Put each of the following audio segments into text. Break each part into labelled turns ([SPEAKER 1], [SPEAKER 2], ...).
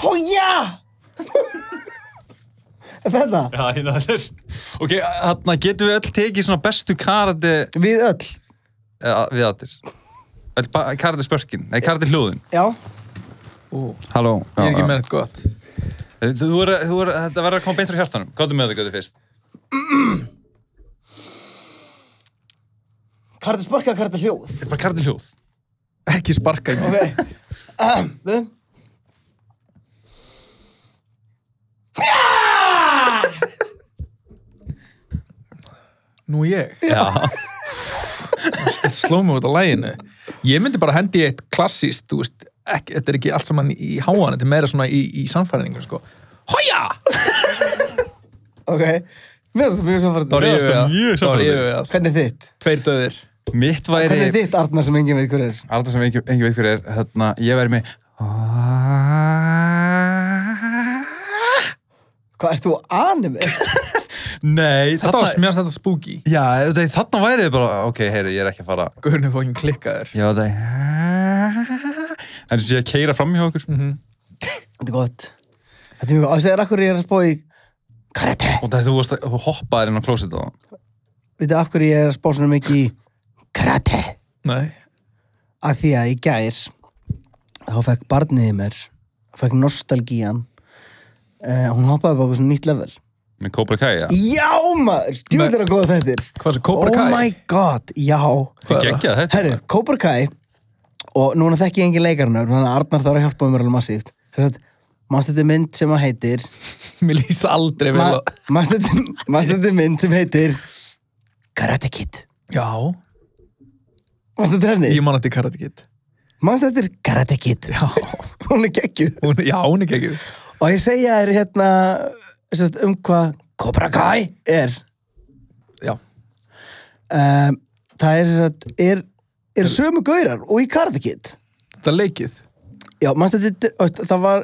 [SPEAKER 1] Hója! Er þetta?
[SPEAKER 2] Já, ég náði þess.
[SPEAKER 3] Ok, þarna getum við öll tekið svona bestu karate
[SPEAKER 1] Við öll.
[SPEAKER 3] eh, við allir. Öll ba- Karate spörkin, nei karate hljóðin.
[SPEAKER 1] Já.
[SPEAKER 4] Ú,
[SPEAKER 3] Halló. já,
[SPEAKER 4] ég er ekki
[SPEAKER 3] já. Eh,
[SPEAKER 4] með þetta gott.
[SPEAKER 3] Þú er, þú er, þetta verður að koma beint frá hjartanum. Góðum með þetta, góðu fyrst.
[SPEAKER 1] Karta sparka, karta hljóð.
[SPEAKER 3] Þetta er bara karate hljóð.
[SPEAKER 4] Ekki sparka í mig.
[SPEAKER 1] Ok. Ahem, Við.
[SPEAKER 4] Nú ég.
[SPEAKER 3] Já.
[SPEAKER 4] Þetta sló mig út á læginu. Ég myndi bara hendi í eitt klassist, þú veist, ekki, þetta er ekki allt saman í háan, þetta er meira svona í, í samfæringu, sko. Hója!
[SPEAKER 1] Ok. Mér finnst það mjög samfærandi.
[SPEAKER 4] Þá er ég við það.
[SPEAKER 3] mjög
[SPEAKER 4] Þá er
[SPEAKER 3] sannfærandi.
[SPEAKER 4] ég við það.
[SPEAKER 1] Hvernig er þitt?
[SPEAKER 4] Tveir döðir.
[SPEAKER 3] Mitt
[SPEAKER 1] Hvernig er
[SPEAKER 3] væri,
[SPEAKER 1] þitt, Arnar, sem enginn veit hver er?
[SPEAKER 3] alltaf sem engin, engin veit hver er, þarna, ég væri með
[SPEAKER 1] Hvað, ert þú anime?
[SPEAKER 3] Nei,
[SPEAKER 4] Þetta var mjög þetta spooky.
[SPEAKER 3] Já, þetta, þarna væri þið bara, ok, heyri, ég er ekki að fara
[SPEAKER 4] Guðurinn er fókin klikkaður.
[SPEAKER 3] Já, það er En þessi ég að keira fram hjá okkur
[SPEAKER 1] Þetta er gott. Þetta er mjög gott. Það er akkur ég er að spá í karate.
[SPEAKER 3] Og það þú, varst að- þú hoppaðir inn á klósit á
[SPEAKER 1] Vitið af hverju ég er að spá svona mikið í karate?
[SPEAKER 4] Nei.
[SPEAKER 1] Af því að í gær þá fekk barnið í mér, fekk nostalgían. Uh, hún hoppaði bara á eitthvað svona nýtt level.
[SPEAKER 3] Með Cobra Kai, já
[SPEAKER 1] Já maður, djúvill er að góða þetta.
[SPEAKER 4] Hvað sem Cobra Kai?
[SPEAKER 1] Oh my god, já.
[SPEAKER 4] Hvað er það?
[SPEAKER 3] Gengja þetta
[SPEAKER 1] Herru, Cobra Kai og núna þekki ég engin leikarnar þannig að Arnar þarf að hjálpa mér alveg massíft þess að mannst þetta er mynd sem að heitir
[SPEAKER 4] Mér líst aldrei vel á...
[SPEAKER 1] mannst þetta er mynd sem heitir Karate Kid
[SPEAKER 4] Já.
[SPEAKER 1] mannst þetta er
[SPEAKER 4] Ég
[SPEAKER 1] henni?
[SPEAKER 4] man þetta í Karate Kid.
[SPEAKER 1] mannst þetta er Karate Kid
[SPEAKER 4] Já.
[SPEAKER 1] hún er geggjuð
[SPEAKER 4] Hún, já, hún er geggjuð.
[SPEAKER 1] og ég segja þér hérna sem sagt, um hvað Cobra Kai er
[SPEAKER 4] Já.
[SPEAKER 1] um, það er, sem sagt, er, er sömu gaurar og í Karate Kid
[SPEAKER 4] Þetta er leikið.
[SPEAKER 1] Já, mannst þetta, veist, það var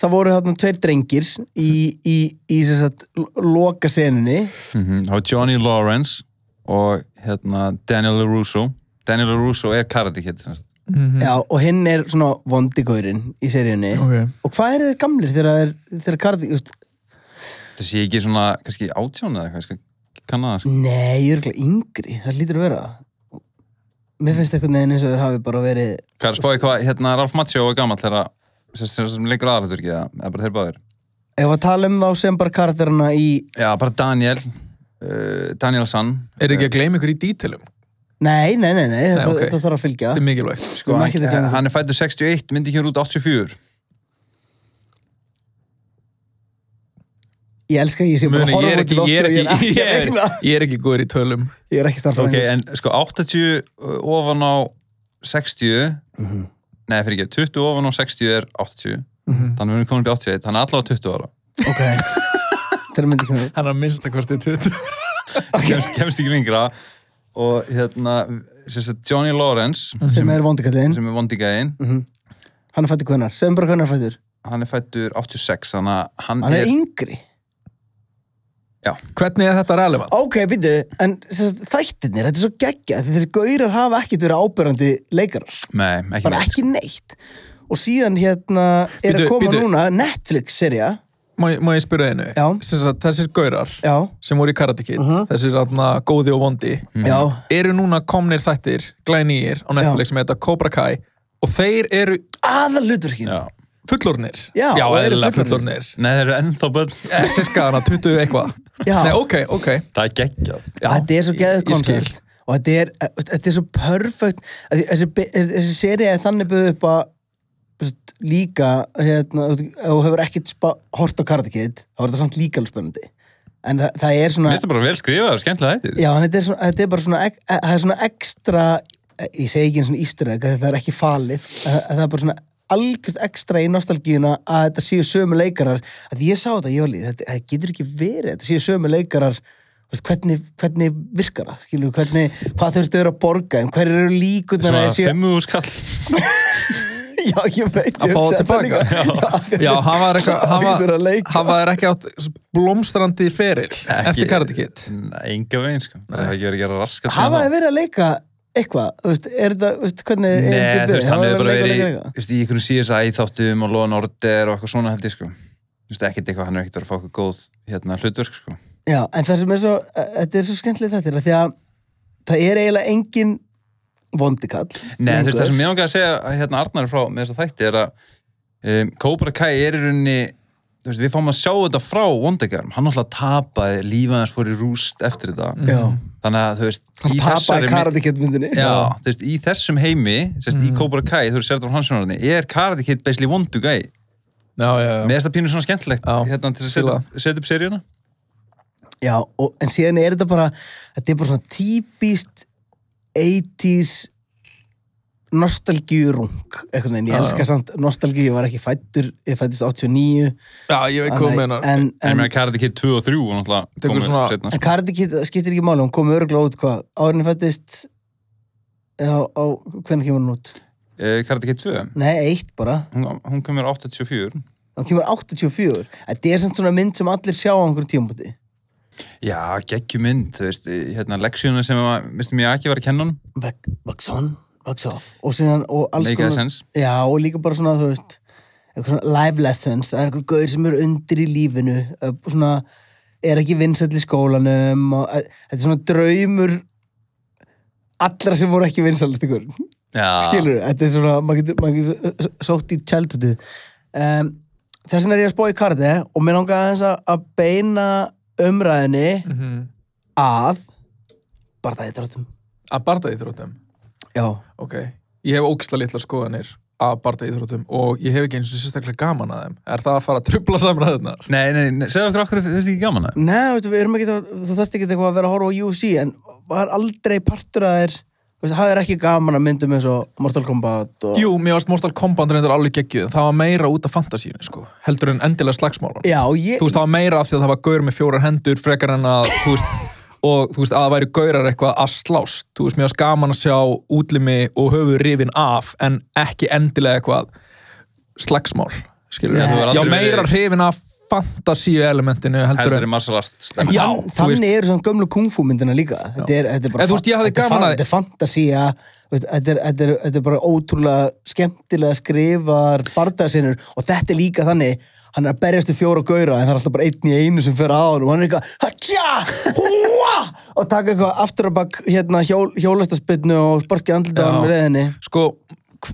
[SPEAKER 1] það voru þarna tveir drengir í, í, í sem sagt loka seninni
[SPEAKER 4] Mm.
[SPEAKER 3] Mhm, Það var Johnny Lawrence og hérna Daniel LaRusso Daniel LaRusso er karate kid sem sagt.
[SPEAKER 1] Já, og hinn er svona vondigaurin í seríunni
[SPEAKER 4] Ok.
[SPEAKER 1] og hvað eru þeir gamlir þegar þeir, þeir karði just,
[SPEAKER 3] Það sé ekki svona, kannski átján eða eitthvað Kann að, sko
[SPEAKER 1] nei, ég er ekki yngri það lítur að vera mér finnst eitthvað neginn eins og þeir hafi bara verið
[SPEAKER 3] Hvað er að spáði hvað, hérna Ralf Macchio er gamall þegar sem, sem, sem leikur aðraturki eða, eða bara þeir báðir
[SPEAKER 1] ef að tala um þá sem bara karðirana í
[SPEAKER 3] Já, bara Daniel uh, Daniel San
[SPEAKER 4] Er ekki að gleyma ykkur í dítilum?
[SPEAKER 1] nei, nei, nei, nei, þetta,
[SPEAKER 4] ok.
[SPEAKER 1] þetta þarf að fylgja
[SPEAKER 4] Þetta er mikilvægt.
[SPEAKER 3] sko,
[SPEAKER 1] Við erum
[SPEAKER 3] hann,
[SPEAKER 1] ekki að gleyma því.
[SPEAKER 3] hann er fættur 61, myndi kemur út 84
[SPEAKER 1] ég elska, ég sé bara að
[SPEAKER 4] Muni, ég,
[SPEAKER 1] horfa
[SPEAKER 4] er
[SPEAKER 1] út
[SPEAKER 4] ekki,
[SPEAKER 1] í loftið
[SPEAKER 4] ég, er
[SPEAKER 1] og
[SPEAKER 4] ekki, ég,
[SPEAKER 1] ég
[SPEAKER 4] er,
[SPEAKER 1] er-
[SPEAKER 4] ég er ekki góður í tölum
[SPEAKER 1] ég er ekki
[SPEAKER 3] ok,
[SPEAKER 1] starfræðingur
[SPEAKER 3] en sko 80 ofan á 60
[SPEAKER 1] Mhm.
[SPEAKER 3] nei, fyrir ekki, 20 ofan á 60 er 80
[SPEAKER 4] Mhm.
[SPEAKER 3] þannig við erum komin upp í 81, hann er allavega 20 ára
[SPEAKER 1] ok, til að myndi kemur
[SPEAKER 4] Hann er minnst að hvort er 20
[SPEAKER 3] kemst, kemst ekki lengra og hérna, sem sagt Johnny Lawrence
[SPEAKER 1] sem er vondikallin
[SPEAKER 3] sem er vondigæðin,
[SPEAKER 1] hann er fættur hvernar, segðum bara hvernar fættur
[SPEAKER 3] hann er fættur 86, þannig að hann,
[SPEAKER 1] hann er yngri
[SPEAKER 4] Hvernig er þetta relevant?
[SPEAKER 1] ok, býtu, en sem sagt, þættirnir þetta er svo geggja, þessi gaurar hafa ekkert verið ábyrrandi leikarar,
[SPEAKER 3] nei, ekki
[SPEAKER 1] bara
[SPEAKER 3] neitt
[SPEAKER 1] ekki neitt og síðan hérna er
[SPEAKER 4] Bíddu,
[SPEAKER 1] að koma
[SPEAKER 4] bíddu.
[SPEAKER 1] núna Netflix-serja,
[SPEAKER 4] Má, ég- má ég spyrja einu?
[SPEAKER 1] Já.
[SPEAKER 4] Sem sagt, Þessir gaurar
[SPEAKER 1] já, Mhm.
[SPEAKER 4] sem voru í Karate Kid Þessir atna, góði og vondi
[SPEAKER 1] já
[SPEAKER 4] Eru núna komnir þættir, glænýir á Netflix sem heita Cobra Kai og þeir eru
[SPEAKER 1] aðalhuturkin,
[SPEAKER 3] Já.
[SPEAKER 4] fullornir
[SPEAKER 1] Já,
[SPEAKER 4] Já
[SPEAKER 1] og eru
[SPEAKER 4] eðlilega
[SPEAKER 1] fullorðnir.
[SPEAKER 4] fullornir
[SPEAKER 3] nei, þeir eru ennþá bönn
[SPEAKER 4] Eh, Cirka hana 20 eitthvað
[SPEAKER 1] Já.
[SPEAKER 4] Nei, ok, ok
[SPEAKER 3] það er geggjað
[SPEAKER 4] Já,
[SPEAKER 1] þetta er svo
[SPEAKER 4] ég-
[SPEAKER 1] geggja
[SPEAKER 4] ég skil.
[SPEAKER 1] koncept og þetta er, eh, þetta er svo perfekt að því- þessi, be- þessi serja er þannig byggð upp að þú veist, líka hérna, ef þú hefur ekkert spa- hort á Karate Kid, þá er þetta samt líka alveg spennandi en það, það er
[SPEAKER 3] Mér
[SPEAKER 1] svona
[SPEAKER 3] finnst það bara vel skrifað, skemmtilega hættir
[SPEAKER 1] Já, en þetta er, svona, þetta er bara svona, ek, e- það er svona ekstra, e- ég segi ekki eins og ísturæk, það er ekki falið, að- að það er bara svona algjörst ekstra í nostalgíuna að þetta séu sömu leikarar, að ég sá þetta, ég var líð, þetta það getur ekki verið, þetta séu sömu leikarar, þú veist, veist, hvernig, hvernig virkar það skilur, hvernig, hvað þurftu að borga en hverju eru líkunar að
[SPEAKER 3] Svona
[SPEAKER 1] þessi
[SPEAKER 3] fimmu skall
[SPEAKER 1] já ég veit
[SPEAKER 4] Að
[SPEAKER 1] ég
[SPEAKER 4] fá
[SPEAKER 1] hugsaði
[SPEAKER 4] það tilbaka.
[SPEAKER 1] líka.
[SPEAKER 4] Já, hann var eitthvað, hann
[SPEAKER 1] Það hlýtur að
[SPEAKER 4] var,
[SPEAKER 1] leika.
[SPEAKER 4] hann var ekki átt blómstrandi feril eftir Karate Kid.
[SPEAKER 3] Enga veginn sko Það hefði ekki verið að gera raskat
[SPEAKER 1] hafa þið verið að leika eitthvað þú veist, er þetta, þú veist, hvernig er
[SPEAKER 3] Nei,
[SPEAKER 1] þetta
[SPEAKER 3] þú
[SPEAKER 1] byrjað?
[SPEAKER 3] veist, hann
[SPEAKER 1] Hafa
[SPEAKER 3] hefur bara
[SPEAKER 1] að leika,
[SPEAKER 3] verið
[SPEAKER 1] leika, leika?
[SPEAKER 3] þú veist, í einhvern CSI þáttum og Lóan Order og eitthvað svona held ég sko Þú veist, ekkert eitthvað, hann er ekkert að fá eitthvað góð hérna hlutverk sko
[SPEAKER 1] Já, en það sem er svo, e, þetta er svo skemmtilegt þetta er að því að það er eiginlega engin vondikall.
[SPEAKER 3] Nei, þú veist, það sem ég langaði að segja að hérna Arnar er frá með þess að þætti er að um, Cobra Kai er í rauninni þú veist, við fáum að sjá þetta frá Wondegarm, hann alltaf tapaði, lífið hans fór í rúst eftir þetta,
[SPEAKER 1] Já,
[SPEAKER 3] þannig að þú veist
[SPEAKER 1] hann
[SPEAKER 3] í
[SPEAKER 1] tapaði
[SPEAKER 3] þessari-
[SPEAKER 1] karadikett myndinni.
[SPEAKER 3] Já, þú veist, í þessum heimi sérst, í
[SPEAKER 4] Mhm.
[SPEAKER 3] Cobra Kai, þú veist, Sertur Hanssonarinni er Karate Kid basically Wonder Guy
[SPEAKER 4] Já, já, já.
[SPEAKER 3] með þetta pínu svona skemmtilegt
[SPEAKER 4] Já.
[SPEAKER 3] hérna til að
[SPEAKER 4] Fíla
[SPEAKER 3] setja upp, set upp seríuna
[SPEAKER 1] Já, og, en síðan er þetta bara, þetta er bara svona típist 80s nostalgjurung, einhvern veginn,
[SPEAKER 4] Já,
[SPEAKER 1] ég elska
[SPEAKER 4] já.
[SPEAKER 1] samt nostalgíu, ég var ekki fættur, ég fættist 89.
[SPEAKER 4] Já, ég hérna. veit
[SPEAKER 1] þannig-
[SPEAKER 4] hvað hún meinar.
[SPEAKER 1] En,
[SPEAKER 3] en
[SPEAKER 1] en,
[SPEAKER 3] með Karate Kid 2 og 3 og náttúrulega
[SPEAKER 4] Tekur
[SPEAKER 3] komu
[SPEAKER 4] svona-
[SPEAKER 3] seinna,
[SPEAKER 1] en
[SPEAKER 3] sko.
[SPEAKER 1] karadikett skiptir ekki máli, hún kom örgulega út hvað, árinni fættist, eða á, á hvernig kemur hún út?
[SPEAKER 3] Eh, Karate Kid 2
[SPEAKER 1] Nei, eitt bara.
[SPEAKER 3] hún, hún kemur 84
[SPEAKER 1] Hún kemur 84. Þetta er samt svona mynd sem allir sjá á einhverjum tímabúti.
[SPEAKER 3] Já, geggjum mynd, þú veist, eh, hérna leksjónu sem að, minnstu mér ekki var að kenna hann
[SPEAKER 1] Vax on, vax off. Og síðan, og alls
[SPEAKER 3] Make a sense
[SPEAKER 1] Já, og líka bara svona, þú veist, eitthvað svona life lessons. Það er einhver gaur sem eru undir í lífinu. eh, Svona, er ekki vinsæll í skólanum. Og, eh, þetta er svona draumur allra sem voru ekki vinsællist ykkur.
[SPEAKER 3] Já,
[SPEAKER 1] Skilur, þetta er svona, maður getur, maður getur sótt í tjaldutið. Um, þess vegna er ég að spá í kardi og mér langaði aðeins að- að beina umræðinni
[SPEAKER 4] Mhm.
[SPEAKER 1] að barðaðidróttum
[SPEAKER 4] Að barða íþróttum.
[SPEAKER 1] já,
[SPEAKER 4] Ok. Ég hef ógislega litla skoðanir að barða íþróttum og ég hef ekki eins og sérstaklega gaman að þeim. Er það að fara að trubla samræðunar?
[SPEAKER 3] Nei, nei, nei, segðu okkur okkur, þú veist ekki gaman að
[SPEAKER 1] neða, veistu, við erum ekki þú þarft ekki eitthvað að vera að horfa á UFC en var aldrei partur að þér þú veist, hafðir ekki gaman að myndum eins og Mortal Kombat og
[SPEAKER 4] Jú, mér varst Mortal Kombat reyndar alveg geggjuð. en Það var meira út af fantasíunni, sko. Heldur en endilega slagsmálun.
[SPEAKER 1] já, ég,
[SPEAKER 4] Þú veist, það var meira af því að það var gaur með fjórar hendur frekar en að, þú veist, og þú veist, að það væri gaurar eitthvað að slást. Þú veist, mér varst gaman að sjá útlimi og höfu rifin af en ekki endilega eitthvað slagsmál, skilur
[SPEAKER 3] Nei.
[SPEAKER 4] við.
[SPEAKER 3] Þú hefur
[SPEAKER 4] Já,
[SPEAKER 3] aldrei
[SPEAKER 4] meira
[SPEAKER 3] verið-
[SPEAKER 4] hrifin af fantasíu elementinu heldur
[SPEAKER 3] Heldur er
[SPEAKER 4] en...
[SPEAKER 3] martial arts
[SPEAKER 1] en
[SPEAKER 3] stemma.
[SPEAKER 4] Já,
[SPEAKER 1] þann-
[SPEAKER 4] þú
[SPEAKER 1] þannig
[SPEAKER 4] veist-
[SPEAKER 1] eru svona gömlu kungfu myndina líka þetta er, þetta er bara
[SPEAKER 4] En þú veist, ég
[SPEAKER 1] þetta
[SPEAKER 4] hafði
[SPEAKER 1] er
[SPEAKER 4] gaman
[SPEAKER 1] fan-
[SPEAKER 4] að-
[SPEAKER 1] þetta er fantasía þú veist, þetta er, þetta, er, þetta er bara ótrúlega skemmtilega skrifar barðasinnur og þetta er líka þannig hann er að berjast við fjóra gaura en það er alltaf bara einn í einu sem fer að honum og hann er eitthvað hatja, húa og taka eitthvað aftur að bak hérna, hjól, hjólastaspinnu og sparki andlita á hann
[SPEAKER 4] Já.
[SPEAKER 1] með reyðinni
[SPEAKER 4] Sko,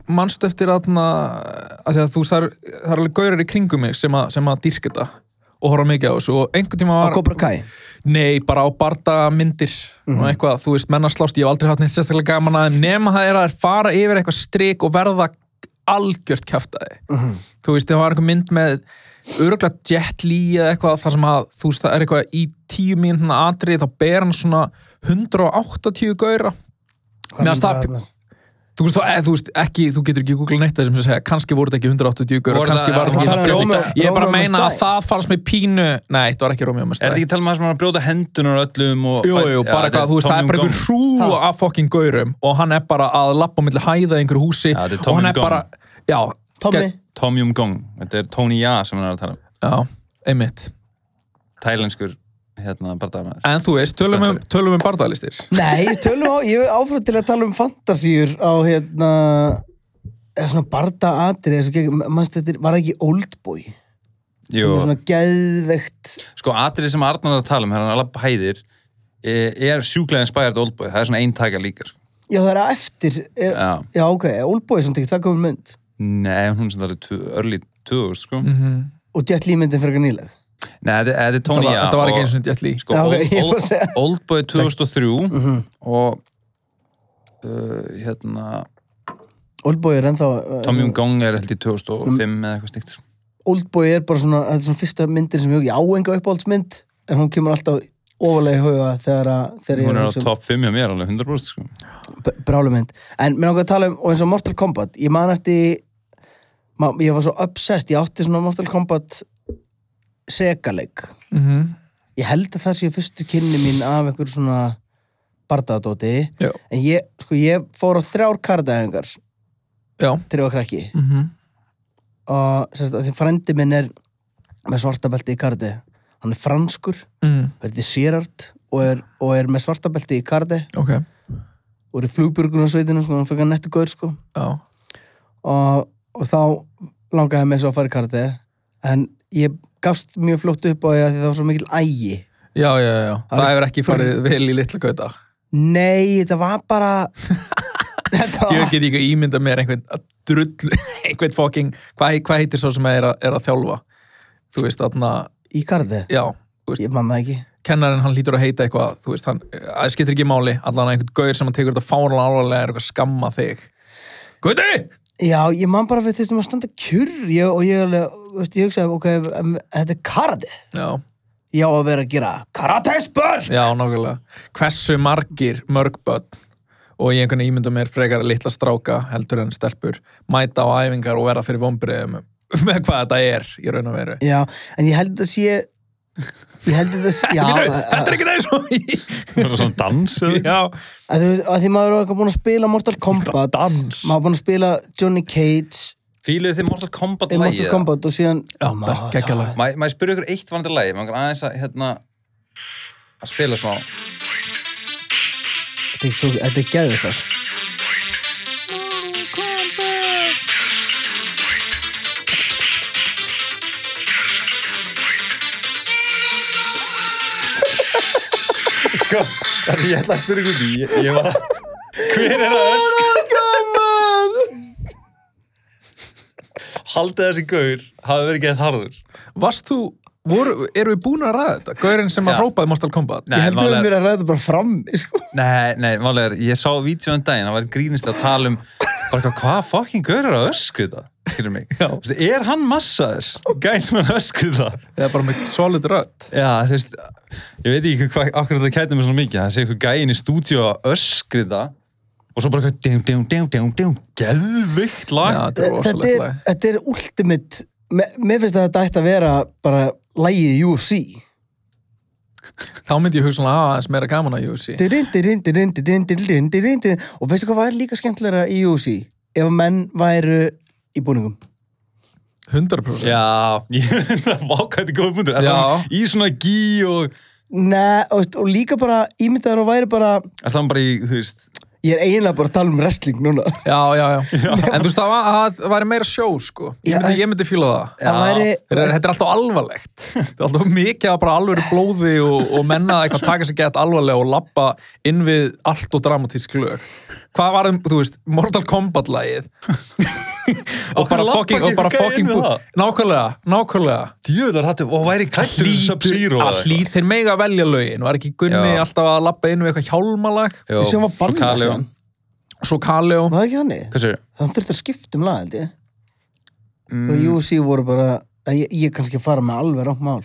[SPEAKER 4] mannst eftir aðna, að því að þú veist, það er, það er alveg gaurar í kringum mig sem að, sem að dýrka þetta og horfa mikið á þessu og einhvern tíma
[SPEAKER 1] á
[SPEAKER 4] var...
[SPEAKER 1] Cobra Kai
[SPEAKER 4] Nei, bara á bardagamyndir og eitthvað, þú veist, mennarslásst, ég hef aldrei hatt neitt sérstaklega gaman að þeim, nema það er að þeir fara yfir eitthvað strik og verða algjört kjaftaði. Þú veist, það var einhver mynd með örgulega Jet Li eða eitthvað þar sem að, þú veist, það er eitthvað í tíu mínutna atrið, þá ber hann svona 180 gaura.
[SPEAKER 1] Hvað
[SPEAKER 4] Mér fannst
[SPEAKER 1] myndir
[SPEAKER 4] það-
[SPEAKER 1] þarna?
[SPEAKER 4] Þú veist, þú, e, þú veist, ekki, þú getur ekki googlað neitt af þessum sem segja, kannski voru þetta ekki 180 gaura,
[SPEAKER 3] Voru
[SPEAKER 4] kannski
[SPEAKER 3] það-
[SPEAKER 4] var
[SPEAKER 3] það
[SPEAKER 4] þetta
[SPEAKER 3] var
[SPEAKER 4] ekki
[SPEAKER 1] Rómeó-
[SPEAKER 4] 180. Ég er bara að
[SPEAKER 1] Rómeó
[SPEAKER 4] meina
[SPEAKER 1] með
[SPEAKER 4] að það fannst mér pínu, nei, þetta var ekki Rómjó með
[SPEAKER 3] Er þetta ekki að tala um það sem hann að brjóta hendunar öllum og
[SPEAKER 4] Jú,
[SPEAKER 3] fæ-
[SPEAKER 4] jú,
[SPEAKER 3] Já, þetta er
[SPEAKER 4] bara eitthvað, þú veist,
[SPEAKER 3] Tom
[SPEAKER 4] það er bara
[SPEAKER 3] Yum
[SPEAKER 4] einhver hrúa
[SPEAKER 1] Ha.
[SPEAKER 4] af fokkin gaurum og hann er bara að lappa á milli hæða í einhverju húsi
[SPEAKER 3] Já, þetta er
[SPEAKER 4] og
[SPEAKER 3] Tom
[SPEAKER 4] hann
[SPEAKER 3] Yum
[SPEAKER 4] er bara, já,
[SPEAKER 1] Tommy
[SPEAKER 4] gegn-
[SPEAKER 3] Gong Tom Yum Gong, þetta er Tony Ya sem hann er að tala um
[SPEAKER 4] já, einmitt.
[SPEAKER 3] Tælenskur, hérna, barndamaður
[SPEAKER 4] En þú veist, tölum um, tölum um barðalistir.
[SPEAKER 1] Nei, tölum á, ég er áfram til að tala um fantasíur á hérna eða svona barda atri mannst þetta, er- var það ekki oldboy sem
[SPEAKER 3] Jú,
[SPEAKER 1] er svona geðveikt
[SPEAKER 3] sko atrið sem Arnar er að tala um, hérna hann alveg hæðir eh, er sjúklega inspired oldboy, það er svona eintaka líka sko.
[SPEAKER 1] já það er að eftir er, já.
[SPEAKER 3] Já,
[SPEAKER 1] ok, oldboy er samt ekki það komið mynd
[SPEAKER 3] nei, hún sem það er tvö- early 2000 sko
[SPEAKER 4] Mm
[SPEAKER 1] og Jet Li myndin fyrir eitthvað nýleg
[SPEAKER 3] Nei, þetta þetta er
[SPEAKER 4] það
[SPEAKER 3] Tony
[SPEAKER 4] var,
[SPEAKER 3] Ya
[SPEAKER 4] þetta var ekki
[SPEAKER 3] og-
[SPEAKER 4] eins og Jet Li.
[SPEAKER 3] sko,
[SPEAKER 1] Já, ok,
[SPEAKER 3] Old-
[SPEAKER 1] ég var að
[SPEAKER 3] Old-
[SPEAKER 1] segja. Mhm.
[SPEAKER 3] Oldboy 2003 og uh, hérna
[SPEAKER 1] oldboy er ennþá eh,
[SPEAKER 3] Tommy Jung Gong er held í 2005 eða eitthvað sko. stíkt
[SPEAKER 1] oldboy er bara svona, þetta er svona fyrsta myndin sem ég ég á enga uppáhaldsmynd en hún kemur alltaf ofalega í huga þegar, að, þegar ég
[SPEAKER 3] hún er á
[SPEAKER 1] hugsa um-
[SPEAKER 3] top 5 hjá mér alveg 100% sko.
[SPEAKER 1] brálumynd en mér langar að tala um, og eins og Mortal Kombat ég man eftir ma, ég var svo obsessed, ég átti svona Mortal Kombat segaleik
[SPEAKER 4] Mm
[SPEAKER 1] ég held að það séu fyrstu kynni mín af einhver svona bardaðadóti
[SPEAKER 4] Já.
[SPEAKER 1] en ég, sko, ég fór á þrjár kardaðingar
[SPEAKER 4] já,
[SPEAKER 1] þrjá krakki
[SPEAKER 4] mhm,
[SPEAKER 1] og sérst, að því frendi minn er með svartabelti í kardi hann er franskur,
[SPEAKER 4] mm,
[SPEAKER 1] verði sérart og er, og er með svartabelti í kardi
[SPEAKER 4] ok
[SPEAKER 1] og er í flugbjörgunarsveitinu sko, hann fyrir nettu gaur sko
[SPEAKER 4] já,
[SPEAKER 1] og, og þá langaði mig svo að fara í karate en ég gafst mjög flott upp á því að því það var svo mikil ægi
[SPEAKER 4] já, já, já, það hefur ekki farið vel í litla gauta
[SPEAKER 1] nei, þetta var bara þetta
[SPEAKER 4] ég
[SPEAKER 1] var
[SPEAKER 4] get ekki ímyndað mér einhvern að drull, einhvern fokking hvað hva heitir svo sem er, a, er að þjálfa þú veist, þarna,
[SPEAKER 1] í karate,
[SPEAKER 4] já þú veist,
[SPEAKER 1] ég man það ekki
[SPEAKER 4] kennarinn hann lítur að heita eitthvað, þú veist, hann það skiptir ekki máli, allan einhvern gaur sem hann tekur þetta fárlega alvarlega er eitthvað að skamma þig Guði!
[SPEAKER 1] já, ég man bara við þessum að standa kjur ég, og ég, alveg, þú veist, ég hugsaði, ok em, þetta er karate,
[SPEAKER 4] Já,
[SPEAKER 1] ég á að vera að gera karate spör
[SPEAKER 4] já, nákvæmlega hversu margir mörgböld og ég einhvern ímynda mér frekar að litla stráka heldur en stelpur mæta á æfingar og vera fyrir vombriðum með hvað þetta er í raun og veru
[SPEAKER 1] já, en ég held að sé ég held að það sé já,
[SPEAKER 4] Getur-
[SPEAKER 1] að-
[SPEAKER 4] Þetta er ekki eins og í
[SPEAKER 3] Það er svona dans eða?
[SPEAKER 4] Já,
[SPEAKER 1] að því- að því maður er búin að spila Mortal Kombat
[SPEAKER 4] Dans.
[SPEAKER 1] maður er búin að spila Johnny Cage
[SPEAKER 3] Fíluðu þið Mortal Kombat
[SPEAKER 1] í Mortal
[SPEAKER 3] lagið?
[SPEAKER 1] Kombat og síðan
[SPEAKER 4] Já, bara geggjalag.
[SPEAKER 3] Má má ég spyrja ykkur eitt vandir lagi? Má ég aðeins að, hérna, að spila smá?
[SPEAKER 1] Þetta er svo- þetta er gæðið það
[SPEAKER 3] Sko, það er ég ætla að spyrja ykkur því. Ég, ég var að... Hver er það ösk? Haldið þessi gaur hafi verið gett harður.
[SPEAKER 4] Varst þú, voru, eru við búin að ræða þetta? Gaurinn sem að
[SPEAKER 3] Já.
[SPEAKER 4] hrópaði Mortal Kombat?
[SPEAKER 3] Nei.
[SPEAKER 1] Ég heldur við
[SPEAKER 3] málið er-
[SPEAKER 1] mér að ræða þetta bara fram sko.
[SPEAKER 3] Nei, nei, málega er, ég sá vídjóðan daginn, það var einn grínist að tala um bara eitthvað, hvað fokkin gaur er að öskriða? Skilur mig.
[SPEAKER 4] Já.
[SPEAKER 3] Þú veist, Er hann massaður? Gæn sem er að öskriða?
[SPEAKER 4] Eða bara með solid rödd?
[SPEAKER 3] Já, þú veist, ég veit ekki hvað, okkur þetta kætið mér svona mikið, það sé eitthvað gæin í stúdíu að öskriða og svo bara eitthvað, djum, djum, djum, djum, djum, geðvikt
[SPEAKER 4] Já,
[SPEAKER 3] lag.
[SPEAKER 4] þetta er
[SPEAKER 1] þetta, er,
[SPEAKER 4] rosalega
[SPEAKER 1] þetta er ultimate me- Mér finnst að þetta ætti að vera bara lægið í UFC
[SPEAKER 4] Þá myndi ég hugsa að aðeins meira gaman að UFC
[SPEAKER 1] Dirrin, dirrin, dirrin, dirrin, dirrin, dirrin, dirrin. Og veistu hvað væri líka skemmtilega í UFC ef að menn væru í búningum
[SPEAKER 4] 100%
[SPEAKER 3] Já, ég veit að váka þetta er góða bundur.
[SPEAKER 4] Já.
[SPEAKER 3] Í svona gí og,
[SPEAKER 1] Nei, og, veist, og líka bara ímyndaður og væri bara
[SPEAKER 3] er það bara í, þú veist,
[SPEAKER 1] Ég er eiginlega bara að tala um wrestling núna
[SPEAKER 4] Já, já, já. En þú veist, það var, að- það væri meira sjó, sko.
[SPEAKER 1] Já,
[SPEAKER 4] Ég myndi,
[SPEAKER 1] veist-
[SPEAKER 4] ég myndi fíla það.
[SPEAKER 1] Það væri-
[SPEAKER 4] Þetta er- þetta er alltaf alvarlegt. Þetta er alltaf mikið að bara alvöru blóði og, og menna það eitthvað taka sig gett alvarlega og lappa inn við allt og dramatísk lög. Hvað var þeim, þú veist, Mortal Kombat-lægið? og
[SPEAKER 3] Okkur
[SPEAKER 4] bara
[SPEAKER 3] labbar
[SPEAKER 4] fucking,
[SPEAKER 3] ekki
[SPEAKER 4] og bara
[SPEAKER 3] eitthvað inn
[SPEAKER 4] fucking,
[SPEAKER 3] við það?
[SPEAKER 4] nákvæmlega, nákvæmlega.
[SPEAKER 3] djöðar hattu, og væri klættur um
[SPEAKER 4] Hlýtur,
[SPEAKER 3] Sub-Zero. eða
[SPEAKER 4] að
[SPEAKER 3] eitthvað.
[SPEAKER 4] hlýtur mega velja lögin. Var ekki Gunni
[SPEAKER 3] Já.
[SPEAKER 4] alltaf að lappa inn við eitthvað hjálmalag?
[SPEAKER 3] Jó,
[SPEAKER 1] Sem
[SPEAKER 4] um
[SPEAKER 1] var bannað
[SPEAKER 3] Kaleo.
[SPEAKER 1] síðan.
[SPEAKER 4] Svo Kaleo.
[SPEAKER 1] Var það ekki þannig?
[SPEAKER 3] Hvað sér?
[SPEAKER 1] Þannig þurfti að skipta um lag, held ég
[SPEAKER 4] Mm.
[SPEAKER 1] Og UFC voru bara að Ég, ég er kannski að fara með alveg rangt mál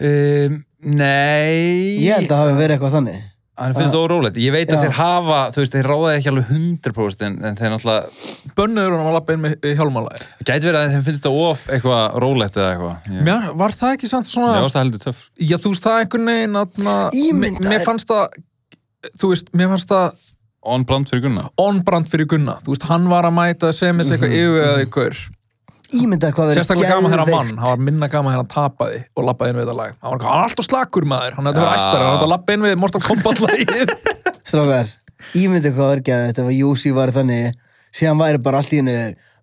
[SPEAKER 3] Um, nei
[SPEAKER 1] Ég held að það hafi verið eitthvað þannig
[SPEAKER 3] Hann finnst það órólegt, ég veit
[SPEAKER 1] Já.
[SPEAKER 3] að þeir hafa þú veist, þeir ráða ekki alveg 100% en, en þeir náttúrulega,
[SPEAKER 4] Bönnuður hann að lappa inn með hjálmalag.
[SPEAKER 3] gæti verið að þeim finnst það of eitthvað rólegt eða eitthvað Ég-
[SPEAKER 4] Mér, var það ekki samt
[SPEAKER 3] Mér
[SPEAKER 4] svona
[SPEAKER 3] varst það heldur töff
[SPEAKER 4] Já, þú veist, það er einhvern veginn atna,
[SPEAKER 1] Ímyndaðir.
[SPEAKER 4] Mér fannst það Þú veist, mér fannst það
[SPEAKER 3] On brand fyrir Gunna
[SPEAKER 4] onbrand fyrir Gunna Þú veist, hann var að mæta sem eins
[SPEAKER 3] Mhm.
[SPEAKER 4] eitthvað yfirvegaði ykkur
[SPEAKER 1] Ímyndaði hvað verið
[SPEAKER 4] Sérstaklega gaman þegar hann vann Hann var minna gaman þegar hann tapaði og lappaði inn við þetta lag Hann var eitthvað, hann er alltaf slakur maður Hann hefði verið
[SPEAKER 3] Já.
[SPEAKER 4] æstari, hann hefði að lappa inn við Mortal Kombat lagið
[SPEAKER 1] Strákar, ímyndaði hvað verið geðið Þetta var UFC var þannig Síðan væri bara allt í hennu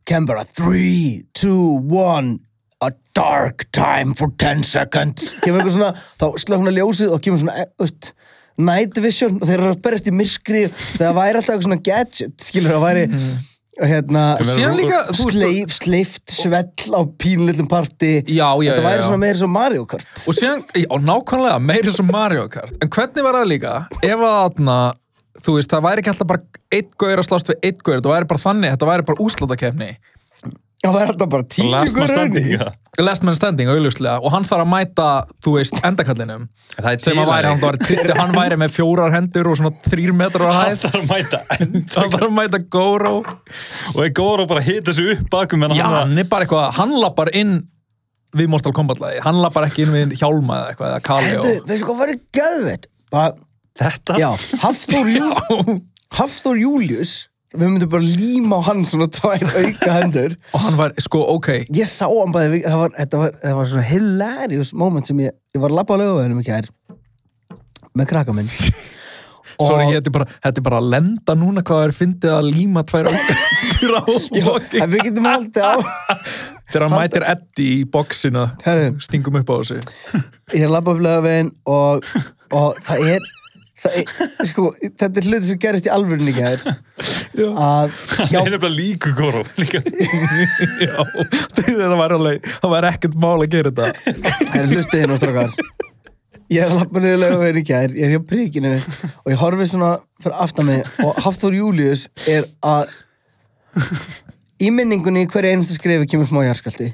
[SPEAKER 1] Canberra 3, 2, 1 A dark time for 10 seconds Kemur eitthvað svona Þá slöknar ljósið og kemur svona e, veist, Night vision og þeir eru að berjast í myrkri Það væri alltaf eitthvað svona gadget Skilur það væri hérna,
[SPEAKER 4] Síðan líka, þú veist,
[SPEAKER 1] sleif, Sleift svell á pínlillum parti
[SPEAKER 4] Já, já,
[SPEAKER 1] Þetta
[SPEAKER 4] já,
[SPEAKER 1] væri
[SPEAKER 4] já.
[SPEAKER 1] svona meira svo Mario Kart
[SPEAKER 4] og síðan, já, nákvæmlega, meiri sem Mario Kart en hvernig var það líka, ef að þarna, þú veist, það væri ekki alltaf bara einn gaur að slást við einn gaur, það væri bara þannig þetta væri bara úslátakefni
[SPEAKER 1] Það væri alltaf bara tíu
[SPEAKER 3] Last man
[SPEAKER 1] gaur inni.
[SPEAKER 3] standing ja.
[SPEAKER 4] last man standing auðljóslega og hann þarf að mæta, þú veist, endakallinum
[SPEAKER 3] Það er
[SPEAKER 4] sem að væri, hann,
[SPEAKER 3] tílæg
[SPEAKER 4] var, tristi, hann væri með fjórar hendur og svona þrýr metrar á
[SPEAKER 3] Hann
[SPEAKER 4] hæð
[SPEAKER 3] þarf að mæta enda
[SPEAKER 4] hann þarf að mæta Goro
[SPEAKER 3] og er góður og bara hita sig upp bakum en
[SPEAKER 4] já,
[SPEAKER 3] hann
[SPEAKER 4] hann er bara eitthvað, hann lappar inn við Mortal Kombat lagi hann lappar ekki inn við hjálma eða eitthvað eða Kali
[SPEAKER 1] Herðu, veistu hvað verið gæðvett? Bara,
[SPEAKER 3] Þetta?
[SPEAKER 1] já, Hafþór, Jú,
[SPEAKER 4] og,
[SPEAKER 1] Hafþór Július, við myndum bara líma á hann svona tvær auka hendur.
[SPEAKER 4] og hann var sko ok
[SPEAKER 1] Ég sá hann bara, það var, þetta var, það var svona hilarious moment sem ég, ég var að labba á lögavöðinum í kær með krakka minn.
[SPEAKER 4] sorry,
[SPEAKER 1] Og-
[SPEAKER 4] ég, þetta, er bara, þetta er bara að lenda núna hvað það er fyndið að líma tvær aukandur á loki
[SPEAKER 1] En við getum haldið á...
[SPEAKER 4] þegar hann mætir Eddi í boksina
[SPEAKER 1] Herru.
[SPEAKER 4] stingum upp á þessu
[SPEAKER 1] ég labba upp lögaveginn og, og það er, það er sko, þetta er hluti sem gerist í alvörunni gæðir
[SPEAKER 4] Já.
[SPEAKER 1] að hjá,
[SPEAKER 3] Það er bara líku góru líka.
[SPEAKER 4] Já, þetta var alveg það var ekkert mál að gera þetta
[SPEAKER 1] það er hlustið hérna strókar ég er að labba niður lögaveginn í gæðir ég er hjá prikinu og ég horfi svona fyrir aftan mig og Hafþór Július er að í minningunni í hverju einasta skrifi kemur smá jarðskalti